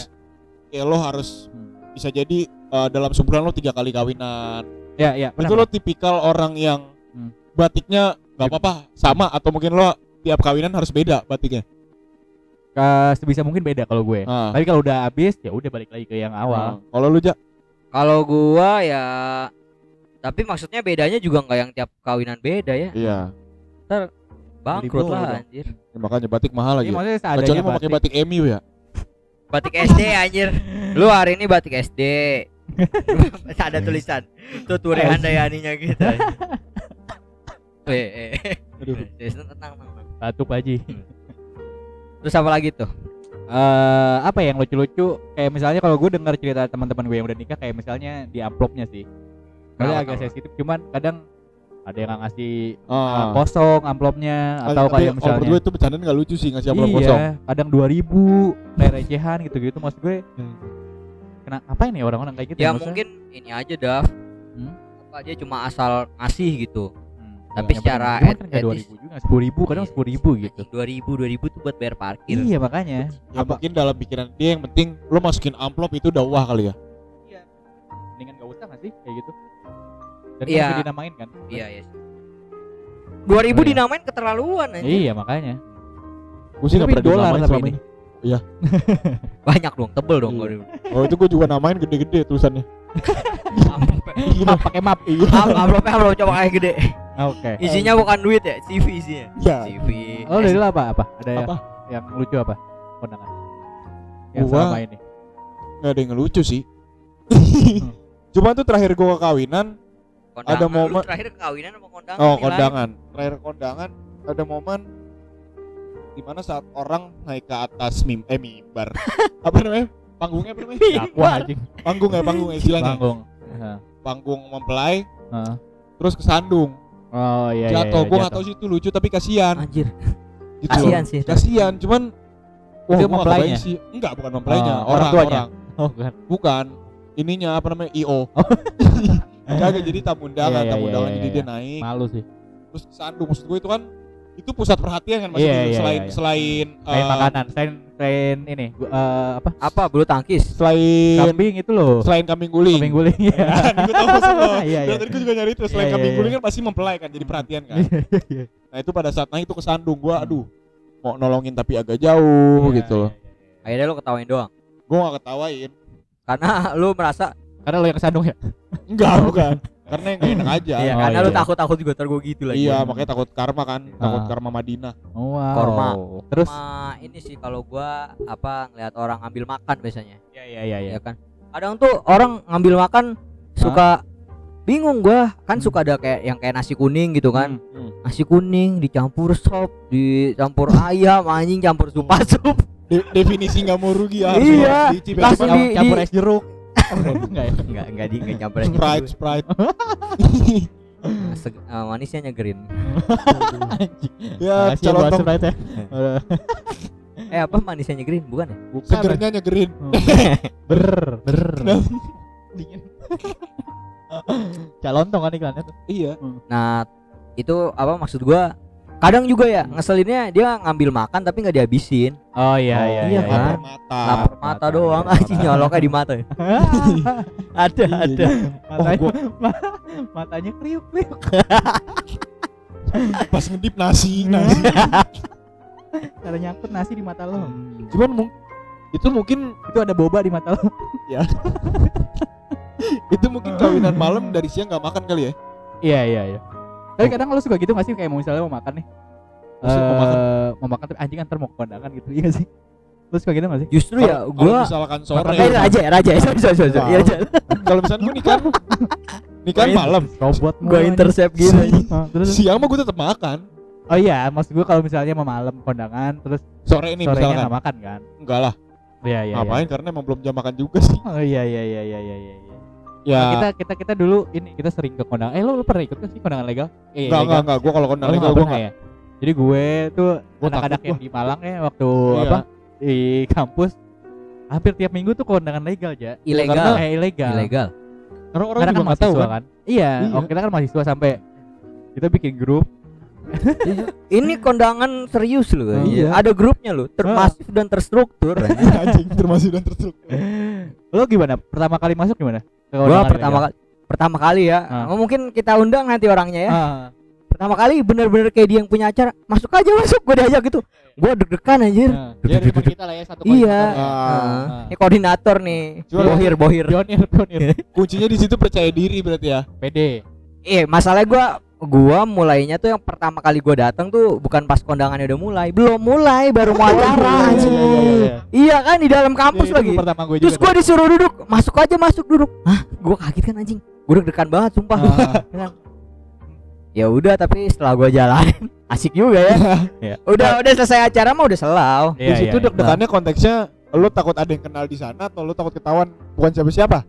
kayak lo harus
Hmm.
bisa jadi eh, dalam sebulan lo tiga kali kawinan.
iya iya
Itu lo tipikal orang yang
Hmm.
batiknya nggak apa-apa sama atau mungkin lo tiap kawinan harus beda batiknya.
Ka- eh, sebisa mungkin beda kalau gue
Ah.
tapi kalau udah habis ya udah balik lagi ke yang
Ah.
awal
Kalau lu ja
Kalau gua ya tapi maksudnya bedanya juga nggak yang tiap kawinan beda ya.
Iya.
Bangkrut
Ribut lah,
lah anjir.
makanya batik mahal Oh. lagi.
Ini maksudnya
Kecuali
seadanya
mau pakai batik EMU ya.
Batik SD anjir. Lu hari ini batik SD. Ada tulisan. Tuh Ture Handayaninya gitu. Eh, eh.
Aduh.
Tenang, tenang, tenang.
batuk aja
Terus apa lagi tuh?
eh apa yang lucu-lucu kayak misalnya kalau gue dengar cerita teman-teman gue yang udah nikah kayak misalnya di amplopnya sih
Kenapa,
Soalnya agak
kenapa?
sensitif cuman kadang ada yang nggak ngasih ah,
Ah.
kosong amplopnya
Tapi
atau kayak
kalau
misalnya
menurut gue itu bercanda nggak lucu sih ngasih amplop
iya
kosong.
kadang 2000 kayak recehan gitu-gitu maksud gue
Hmm.
kena ngapain ya orang-orang kayak gitu
Ya
maksudnya?
mungkin ini aja Daf.
Hmm?
Apa aja cuma asal ngasih gitu.
Hmm,
tapi
yang
secara
bener. Cuman kan
et-
nggak 2000
etis-
juga 10000 kadang
Iya.
10000 gitu
Anjing, 2000 2000 tuh buat bayar parkir.
iya makanya
Ya mungkin dalam pikiran dia yang penting lo masukin amplop itu udah wah kali ya.
mendingan gak usah nggak sih kayak gitu dan
Iya.
masih dinamain kan
Iya, iya. 2000
Oh, iya.
dinamain keterlaluan anjir.
iya makanya
Gue sih nggak
Tapi
pernah
dolar
dinamain
tapi
selama
ini.
ini.
Banyak dong, tebel dong
Iya.
2000.
Oh itu gue juga namain gede-gede tulisannya. Gila.
Map, pakai map
Iya.
Am- Amplopnya amplop coba kayak gede.
Oke.
Isinya bukan duit ya, CV isinya. Eh,
Ya.
CV.
Oh, dari lu apa? Apa? Ada
Apa?
yang lucu apa? Kondangan. Yang
Gua-
sama ini.
Nggak ada yang lucu sih.
Hmm.
Cuma tuh terakhir gue kawinan,
Kondangan.
ada
Lu
momen-
terakhir kawinan sama kondangan.
oh
nih, Lan?
kondangan. Terakhir kondangan ada momen dimana saat orang naik ke atas mim eh mimbar apa namanya panggungnya apa namanya
Dakwah anjing.
panggung ya panggung istilahnya
Panggung. Heeh.
panggung mempelai
Heeh.
terus kesandung
Oh iya. iya,
jatuh
iya,
gue nggak tahu sih itu lucu tapi kasihan
Anjir,
gitu loh.
kasihan sih.
kasihan cuman wah
Itu
gua nggak
mempelainya?
kebayang sih enggak bukan mempelainya
Oh, orang
orang
tuanya?
orang
Oh bukan.
bukan ininya apa namanya io kagak jadi tamu undangan
Iya, iya,
tamu
iya,
undangan
iya,
jadi
iya.
dia naik
Malu sih.
terus kesandung maksud gue itu kan itu pusat perhatian kan maksudnya
Iya, iya,
selain
iya.
selain
Selain
eh,
makanan, selain selain ini gua, eh, apa?
Apa bulu tangkis?
selain
Kambing itu loh.
selain kambing guling
Kambing guling. Iya.
Kan, gue tahu maksud lo.
Iya, iya.
Dari tadi gue juga nyari itu selain
Iya, iya,
kambing
iya.
guling kan pasti mempelai kan jadi perhatian kan
Iya.
nah itu pada saat naik itu kesandung gue aduh mau nolongin tapi agak jauh gitu
Iya,
loh
Akhirnya lo ketawain doang.
gue gak ketawain
Karena lu merasa
Karena lo yang kesandung ya.
enggak bukan karena yang gak enak aja
Iya,
Oh,
karena
iya.
lu takut-takut juga ntar gua gitu lagi.
Iya, makanya takut karma kan, takut
Ah.
karma Madinah.
Wow.
Korma.
Terus
Sama ini sih kalau gua apa ngelihat orang ngambil makan biasanya.
Iya iya iya iya.
Ya kan. Kadang tuh orang ngambil makan suka bingung gua, kan
Hmm.
suka ada kayak yang kayak nasi kuning gitu kan.
Hmm.
Nasi kuning dicampur sop, dicampur ayam, anjing campur sup sup.
De- definisi nggak mau rugi ya. harus
Iya,
harus diicip ya.
langsung
Cuman
di-
campur
di-
es jeruk. Enggak ya.
Enggak, enggak di enggak campur.
Sprite, Sprite.
Seg- eh, manisnya nyegerin.
ya,
Makasih ya
calon
buat
tong.
surprise ya. Eh,
Eh apa manisnya nyegerin bukan ya?
Bukan, Segernya nyegerin.
ber ber.
Kenapa?
Dingin. Calon tong kan iklannya tuh.
Iya.
Nah, itu apa maksud gua kadang juga ya ngeselinnya dia ngambil makan tapi nggak dihabisin
Oh
Oh,
iya iya
iya,
iya.
lapar
kan?
mata.
lapar mata doang
lapar
aja nyoloknya di mata ya. ada
Iya,
ada
Oh,
Matanya,
gua
ma- matanya kriuk kriuk.
pas ngedip nasi, nasi.
Kalau nyangkut nasi di mata lo.
Cuman mung- itu mungkin
Itu ada boba di mata lo.
itu mungkin kawinan malam dari siang nggak makan kali ya.
Iya iya iya. Tapi kadang lo suka gitu masih kayak mau misalnya mau makan nih.
Maksudnya Oh. mau makan?
Eh, mau makan tapi anjing antar mau ke kondangan gitu iya sih. Lo suka gitu gak sih?
justru ya
Kalau- kalau
gua
misalkan sore.
eh raja ya, raja ya. sorry sorry sorry sorry. Iya, Raja.
Kalau misalkan gua nikahan nikahan
Gua in-
kan malam.
Robot
gua intercept
iya.
gitu
Oh, terus
Siang mah gua tetap makan.
oh iya, maksud gue kalau misalnya mau malam kondangan terus
Sore ini
sorenya
misalkan.
nggak makan kan?
Enggak lah,
Iya iya.
ngapain karena emang belum jam makan juga sih.
Iya. Oh iya iya iya iya iya. iya.
Ya.
Nah, kita kita kita dulu ini kita sering ke kondangan. Eh lo, lo pernah ikut kan sih kondangan legal? Eh,
Enggak, enggak, enggak. Gua kalau
Lo
kondangan
nggak
gua
pernah ya? Jadi gue tuh
Gua
anak-anak
takut
yang
gua.
di Malang ya waktu
Iya.
apa di kampus hampir tiap minggu tuh kondangan legal aja.
ilegal
eh ilegal.
ilegal
Karena orang
Karena
juga
kan
nggak tahu
mahasiswa
kan.
kan? Iya,
Iya.
oh, kita kan mahasiswa sampai kita bikin grup.
ini kondangan serius loh
Oh,
iya.
iya.
ada grupnya loh termasif dan terstruktur
ya?
Anjing termasuk dan terstruktur.
Lo gimana? Pertama kali masuk gimana? Ke
gua
kondangan ya.
pertama
legal?
kali pertama kali ya
Ah.
Oh, mungkin kita undang nanti orangnya ya
Ah.
pertama kali bener-bener kayak dia yang punya acara masuk aja masuk gua diajak gitu gua deg-degan anjir
Nah,
Iya,
dia depan kita lah ya satu
Iya.
koordinator ya.
Ah.
Ah.
Ini koordinator nih.
Cuma-
bohir, bohir.
Pionir, pionir.
Iya.
Kuncinya di situ percaya diri berarti ya.
PD.
Eh, masalah gua gua mulainya tuh yang pertama kali gua datang tuh bukan pas kondangannya udah mulai, belum mulai baru mau
Iya, iya,
acara.
iya, iya.
iya kan di dalam kampus
Iya, itu
lagi.
Pertama gue
Terus gua disuruh duduk, masuk aja masuk duduk. Hah, gua kaget kan anjing. Gua deg-degan banget sumpah.
Ah.
Ah.
Bilang, ya udah tapi setelah gua jalan asik juga ya.
Iya.
Udah udah selesai acara mah udah selau.
di situ
Nah.
deg-degannya konteksnya lo takut ada yang kenal di sana atau lo takut ketahuan bukan siapa-siapa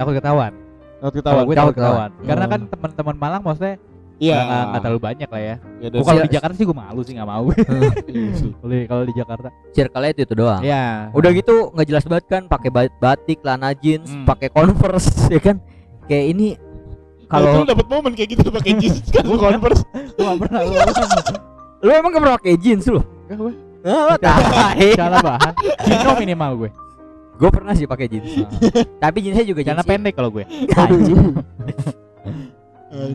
Takut ketahuan.
takut
Kalau
ketahuan
gue
takut
takut ketahuan.
ketahuan.
Karena
Oh.
kan teman-teman Malang maksudnya
iya
nggak- nggak nggak terlalu banyak lah ya.
Ya, Iya, dan
Gua kalau
si-
di Jakarta sih gue malu sih nggak mau.
serius sih.
Kalau di- kalau di Jakarta.
Circle Nah, itu, itu
Ah.
doang.
Iya.
Udah gitu nggak jelas banget kan pakai ba- batik, celana jeans,
Hmm.
pakai Converse ya kan. Kayak ini
Nah, itu
kalau
lo dapet momen kayak gitu pakai jeans kan
Iya.
lo converse
Gue nggak pernah.
gitu.
gua nggak pernah.
lu emang gak pernah pakai jeans lu?
Nggak, gue.
Ah, tai.
Salah bahan. Cino minimal gue.
Gue pernah sih pakai jeans. Tapi jeansnya
Iya
juga
Celana pendek kalau gue.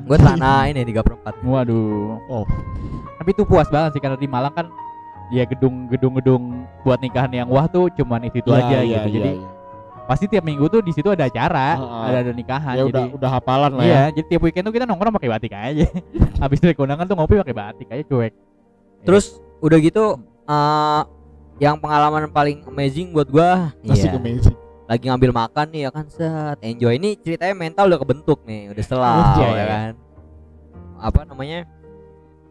Gue celana ini 3 per
Iya.
4
Waduh.
Oh.
Tapi itu puas banget sih karena di Malang kan ya gedung-gedung-gedung buat nikahan yang wah tuh cuman itu, -itu
Iya,
aja
iya,
gitu.
iya,
Jadi
iya.
pasti tiap minggu tuh di situ ada acara,
Heeh.
ada ada nikahan.
ya
Nah, jadi
udah udah hafalan lah
iya,
ya
jadi tiap weekend tuh kita nongkrong pakai batik aja. Habis dari kondangan tuh ngopi pakai batik aja cuek.
Terus udah gitu eh, yang pengalaman paling amazing buat gua
masih
iya,
amazing
lagi ngambil makan nih ya kan set enjoy ini ceritanya mental udah kebentuk nih udah selau
Iya,
ya
iya.
kan apa namanya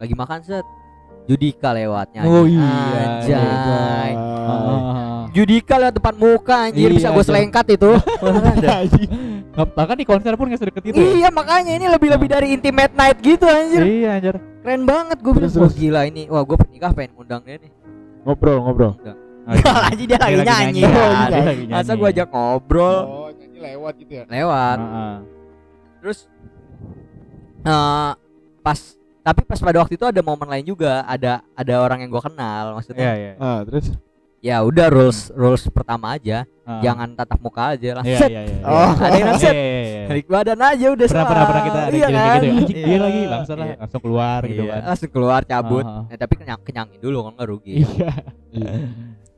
lagi makan set Judika lewatnya
Oh iya,
anjay
Iya.
Ah.
Judika lewat depan muka anjir
Iya,
bisa gue
iya.
selengkat itu
Anjing.
Nggak- Bahkan di konser pun nggak sedekat itu. ya? Nah.
Iya makanya ini lebih-lebih dari intimate night gitu anjir
Iya anjir.
Keren banget gue bilang
Terus, terus.
Wah gila ini Wah gue nikah pengen ngundang dia nih
ngobrol ngobrol
Oh, iya.
Enggak lagi dia lagi nyanyi kan.
dia lagi
Masa
nyanyi.
gue ajak ngobrol
oh nyanyi lewat gitu ya
Lewat
Heeh.
Terus eh Pas Tapi pas pada waktu itu ada momen lain juga Ada ada orang yang gue kenal
Iya,
maksudnya
iya.
ah terus
Ya udah rules rules pertama aja
Heeh.
Jangan tatap muka aja langsung
Nah. Iya,
set.
iya, iya.
Oh.
Ada yang
Iya,
set
iya, iya.
Tarik badan aja udah
pernah
selam.
pernah pernah kita ada
Iya
kejadian
kan
kayak gitu ya. anjing dia
Iya.
lagi langsung lah
Iya.
langsung keluar gitu
Iya,
kan
Langsung keluar cabut
Heeh.
Nah, tapi kenyang kenyangin dulu kan nggak rugi
iya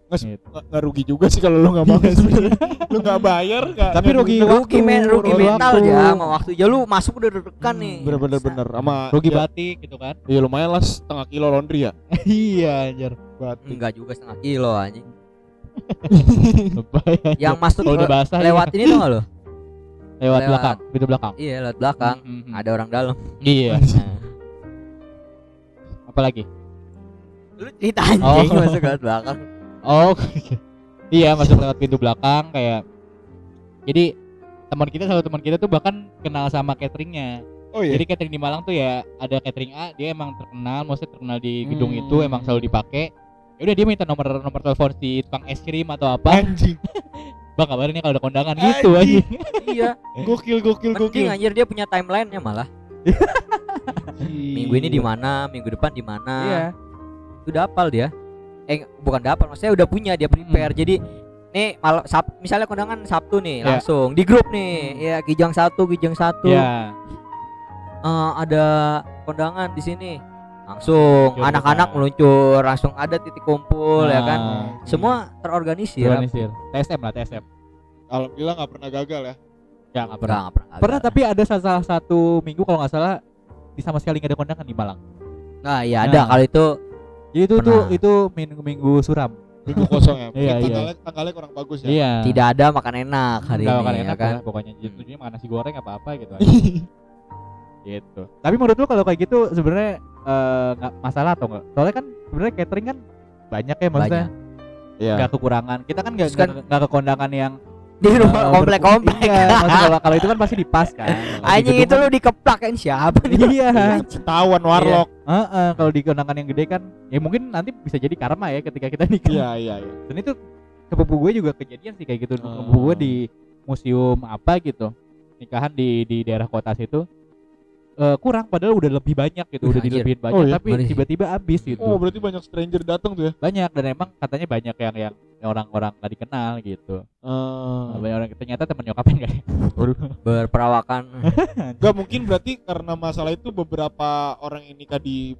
nggak nggak rugi juga Iya sih kalau lo nggak mau sebenarnya. lo nggak bayar nggak Tapi nggak
rugi- Hmm,
rugi men rugi
rugi
mental
waktu.
ya sama waktu ya lu masuk udah deg-degan nih
bener-bener
Sa-
bener sama
rugi
Iya.
ya,
batik gitu kan
ya lumayan lah setengah kilo laundry ya
iya anjir
batik
enggak juga setengah kilo anjing
lebay anjir.
Hmm. yang masuk
kalau udah
le-
basah
lewat ini tuh lo
iya. lewat
lewat-
belakang pintu belakang
iya lewat belakang
Mhm.
ada orang dalam
iya apalagi
lu cerita anjing
Oh.
masuk lewat belakang
oh iya masuk lewat pintu belakang kayak jadi teman kita satu teman kita tuh bahkan kenal sama cateringnya
oh iya
Jadi catering di Malang tuh ya ada catering A, dia emang terkenal, maksudnya terkenal di gedung
Hmm.
itu emang selalu dipakai. Ya udah dia minta nomor nomor telepon si tukang es krim atau apa.
anjing
Bang kabarin ya kalau ada kondangan gitu aja.
iya
gokil gokil gokil
penting anjir dia punya timeline-nya malah
Iya.
minggu ini di mana minggu depan di mana
Iya.
udah hafal dia eh bukan udah hafal maksudnya udah punya dia prepare
Hmm.
jadi nih malam Sab- misalnya kondangan Sabtu nih
Ya.
langsung di grup nih ya kijang satu kijang satu
Hmm. Iya.
Eh, ada kondangan di sini langsung
Meluncur
anak-anak
kita.
meluncur langsung ada titik kumpul ya kan
Nah,
semua terorganisir
organisir. TSM lah TSM.
Alhamdulillah nggak pernah gagal ya.
Enggak nggak pernah.
Nggak, nggak pernah
Pernah tapi ada salah- salah satu minggu kalau nggak salah di sama sekali nggak ada kondangan di Malang.
nah iya ada
Nah.
kalau itu
Jadi Ya, itu tuh
Pernah.
itu minggu-minggu suram.
Minggu kosong ya. Mungkin
Iya, iya.
tanggalnya, tanggalnya kurang bagus ya.
Iya.
tidak ada makan enak hari
Nggak
ini
makan
ya
enak
kan
lah pokoknya jadi
Hmm.
tujuannya makan nasi goreng apa apa gitu aja. gitu tapi menurut lu kalau kayak gitu sebenarnya eh, nggak masalah atau enggak soalnya kan sebenarnya catering kan banyak ya maksudnya
Iya.
nggak kekurangan kita kan nggak
Terus kan-
nggak- nggak ke kondangan yang
di rumah
eh,
komplek komplek
berku- Iya, maksudnya kalau kalau itu kan pasti dipas kan Kalau di
anjing itu
gedung
lu dikeplak kan siapa
kan-
nih
iya
Ketahuan warlock.
Heeh, kalau di kondangan yang gede kan ya mungkin nanti bisa jadi karma ya ketika kita nikah
Iya iya iya.
dan itu sepupu gue juga kejadian sih kayak gitu
Hmm.
sepupu gue di museum apa gitu nikahan di di daerah kota situ Eh, kurang padahal udah lebih banyak gitu udah
Anjir.
dilebihin banyak
Oh, iya?
tapi
Ngeri.
tiba-tiba habis gitu
Oh berarti banyak stranger datang tuh ya?
banyak dan emang katanya banyak yang yang orang-orang gak dikenal gitu
Eh,
banyak orang ternyata temen nyokapnya gak
berperawakan
Gak mungkin berarti karena masalah itu beberapa orang yang nikah di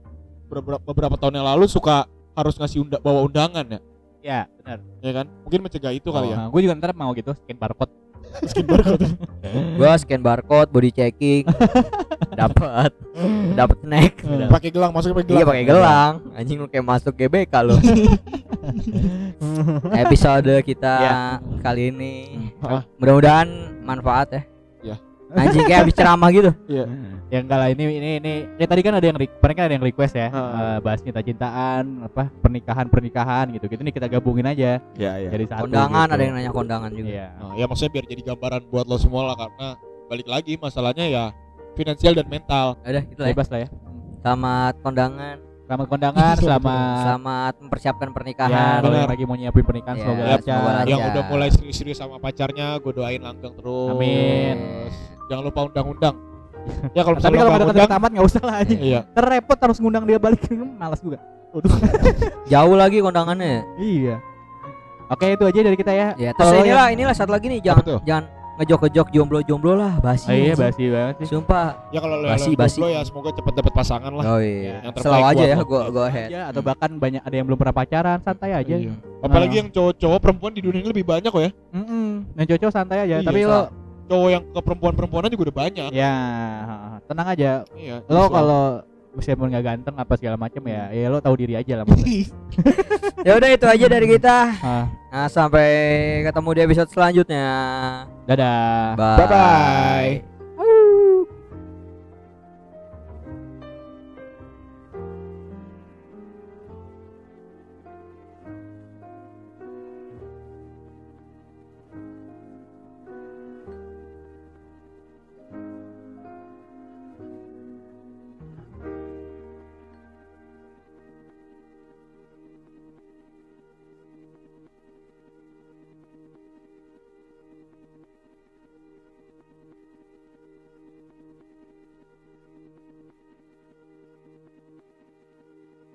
beberapa, beberapa tahun yang lalu suka harus ngasih unda- bawa undangan ya,
ya benar
ya kan? Mungkin mencegah itu kali ya.
gue juga ntar mau gitu skin barcode
gua scan barcode body checking dapat dapat snack
Pakai gelang, masuknya pakai
iya
gelang. ya?
pakai gelang anjing lu kayak masuk GBK lu episode kita
Ya.
kali ini
Ah.
mudah-mudahan manfaat ya
Ya.
anjing kayak habis ceramah gitu
ya enggak lah ini ini ini ya tadi kan ada yang re- kemarin kan ada yang request ya
Heeh.
eh, bahas cinta-cintaan apa pernikahan pernikahan gitu gitu nih kita gabungin aja
Iya iya.
jadi satu
kondangan
gitu.
ada yang nanya kondangan juga Oh,
Iya.
Nah, ya maksudnya biar jadi gambaran buat lo semua lah karena balik lagi masalahnya ya finansial dan mental.
udah gitu lah ya.
Bebas lah ya.
selamat kondangan
Selamat kondangan, selamat
selamat mempersiapkan
ya,
pernikahan
kalau
benar.
yang lagi mau nyiapin pernikahan
Ya,
semoga
semoga
lancar.
lancar.
Yang
Iya.
udah mulai serius-serius sama pacarnya, gue doain langgeng terus.
Amin.
Iya.
Terus Jangan lupa undang-undang. ya kalau
Tapi
misalnya
kalau
lupa
udah
undang,
dekat tamat enggak usah lah anjing.
iya.
Ntar repot harus ngundang dia balik malas juga.
jauh lagi kondangannya
Iya. Oke, itu aja dari kita ya.
ya terus
Kalau
inilah inilah satu lagi nih
Apa tuh?
jangan jangan ngejok-ngejok jomblo-jomblo lah
yang- Oh,
basi
iya
anjing.
basi banget sih.
sumpah
Ya kalau lo
Basi,
lo
basi.
jomblo ya semoga cepat dapat pasangan lah.
Oh iya.
Yang terbaik
Slow aja
buat
ya,
lo.
go go ahead.
Aja, Iya, atau bahkan banyak ada yang belum pernah pacaran, santai aja.
Iya.
Apalagi yang cowok-cowok perempuan di dunia ini lebih banyak kok ya.
Mm-mm. Yang cocok santai aja,
Iya,
tapi
so-
lo
Cowok yang ke perempuan-perempuanan juga udah banyak.
ya tenang aja.
Iya. So-
Lo kalau meskipun nggak ganteng apa segala macam ya, ya lo tahu diri aja lah. maksudnya.
Iya. Ya udah itu aja dari kita.
Ah,
Nah, sampai ketemu di episode selanjutnya.
dadah.
Bye.
Bye-bye.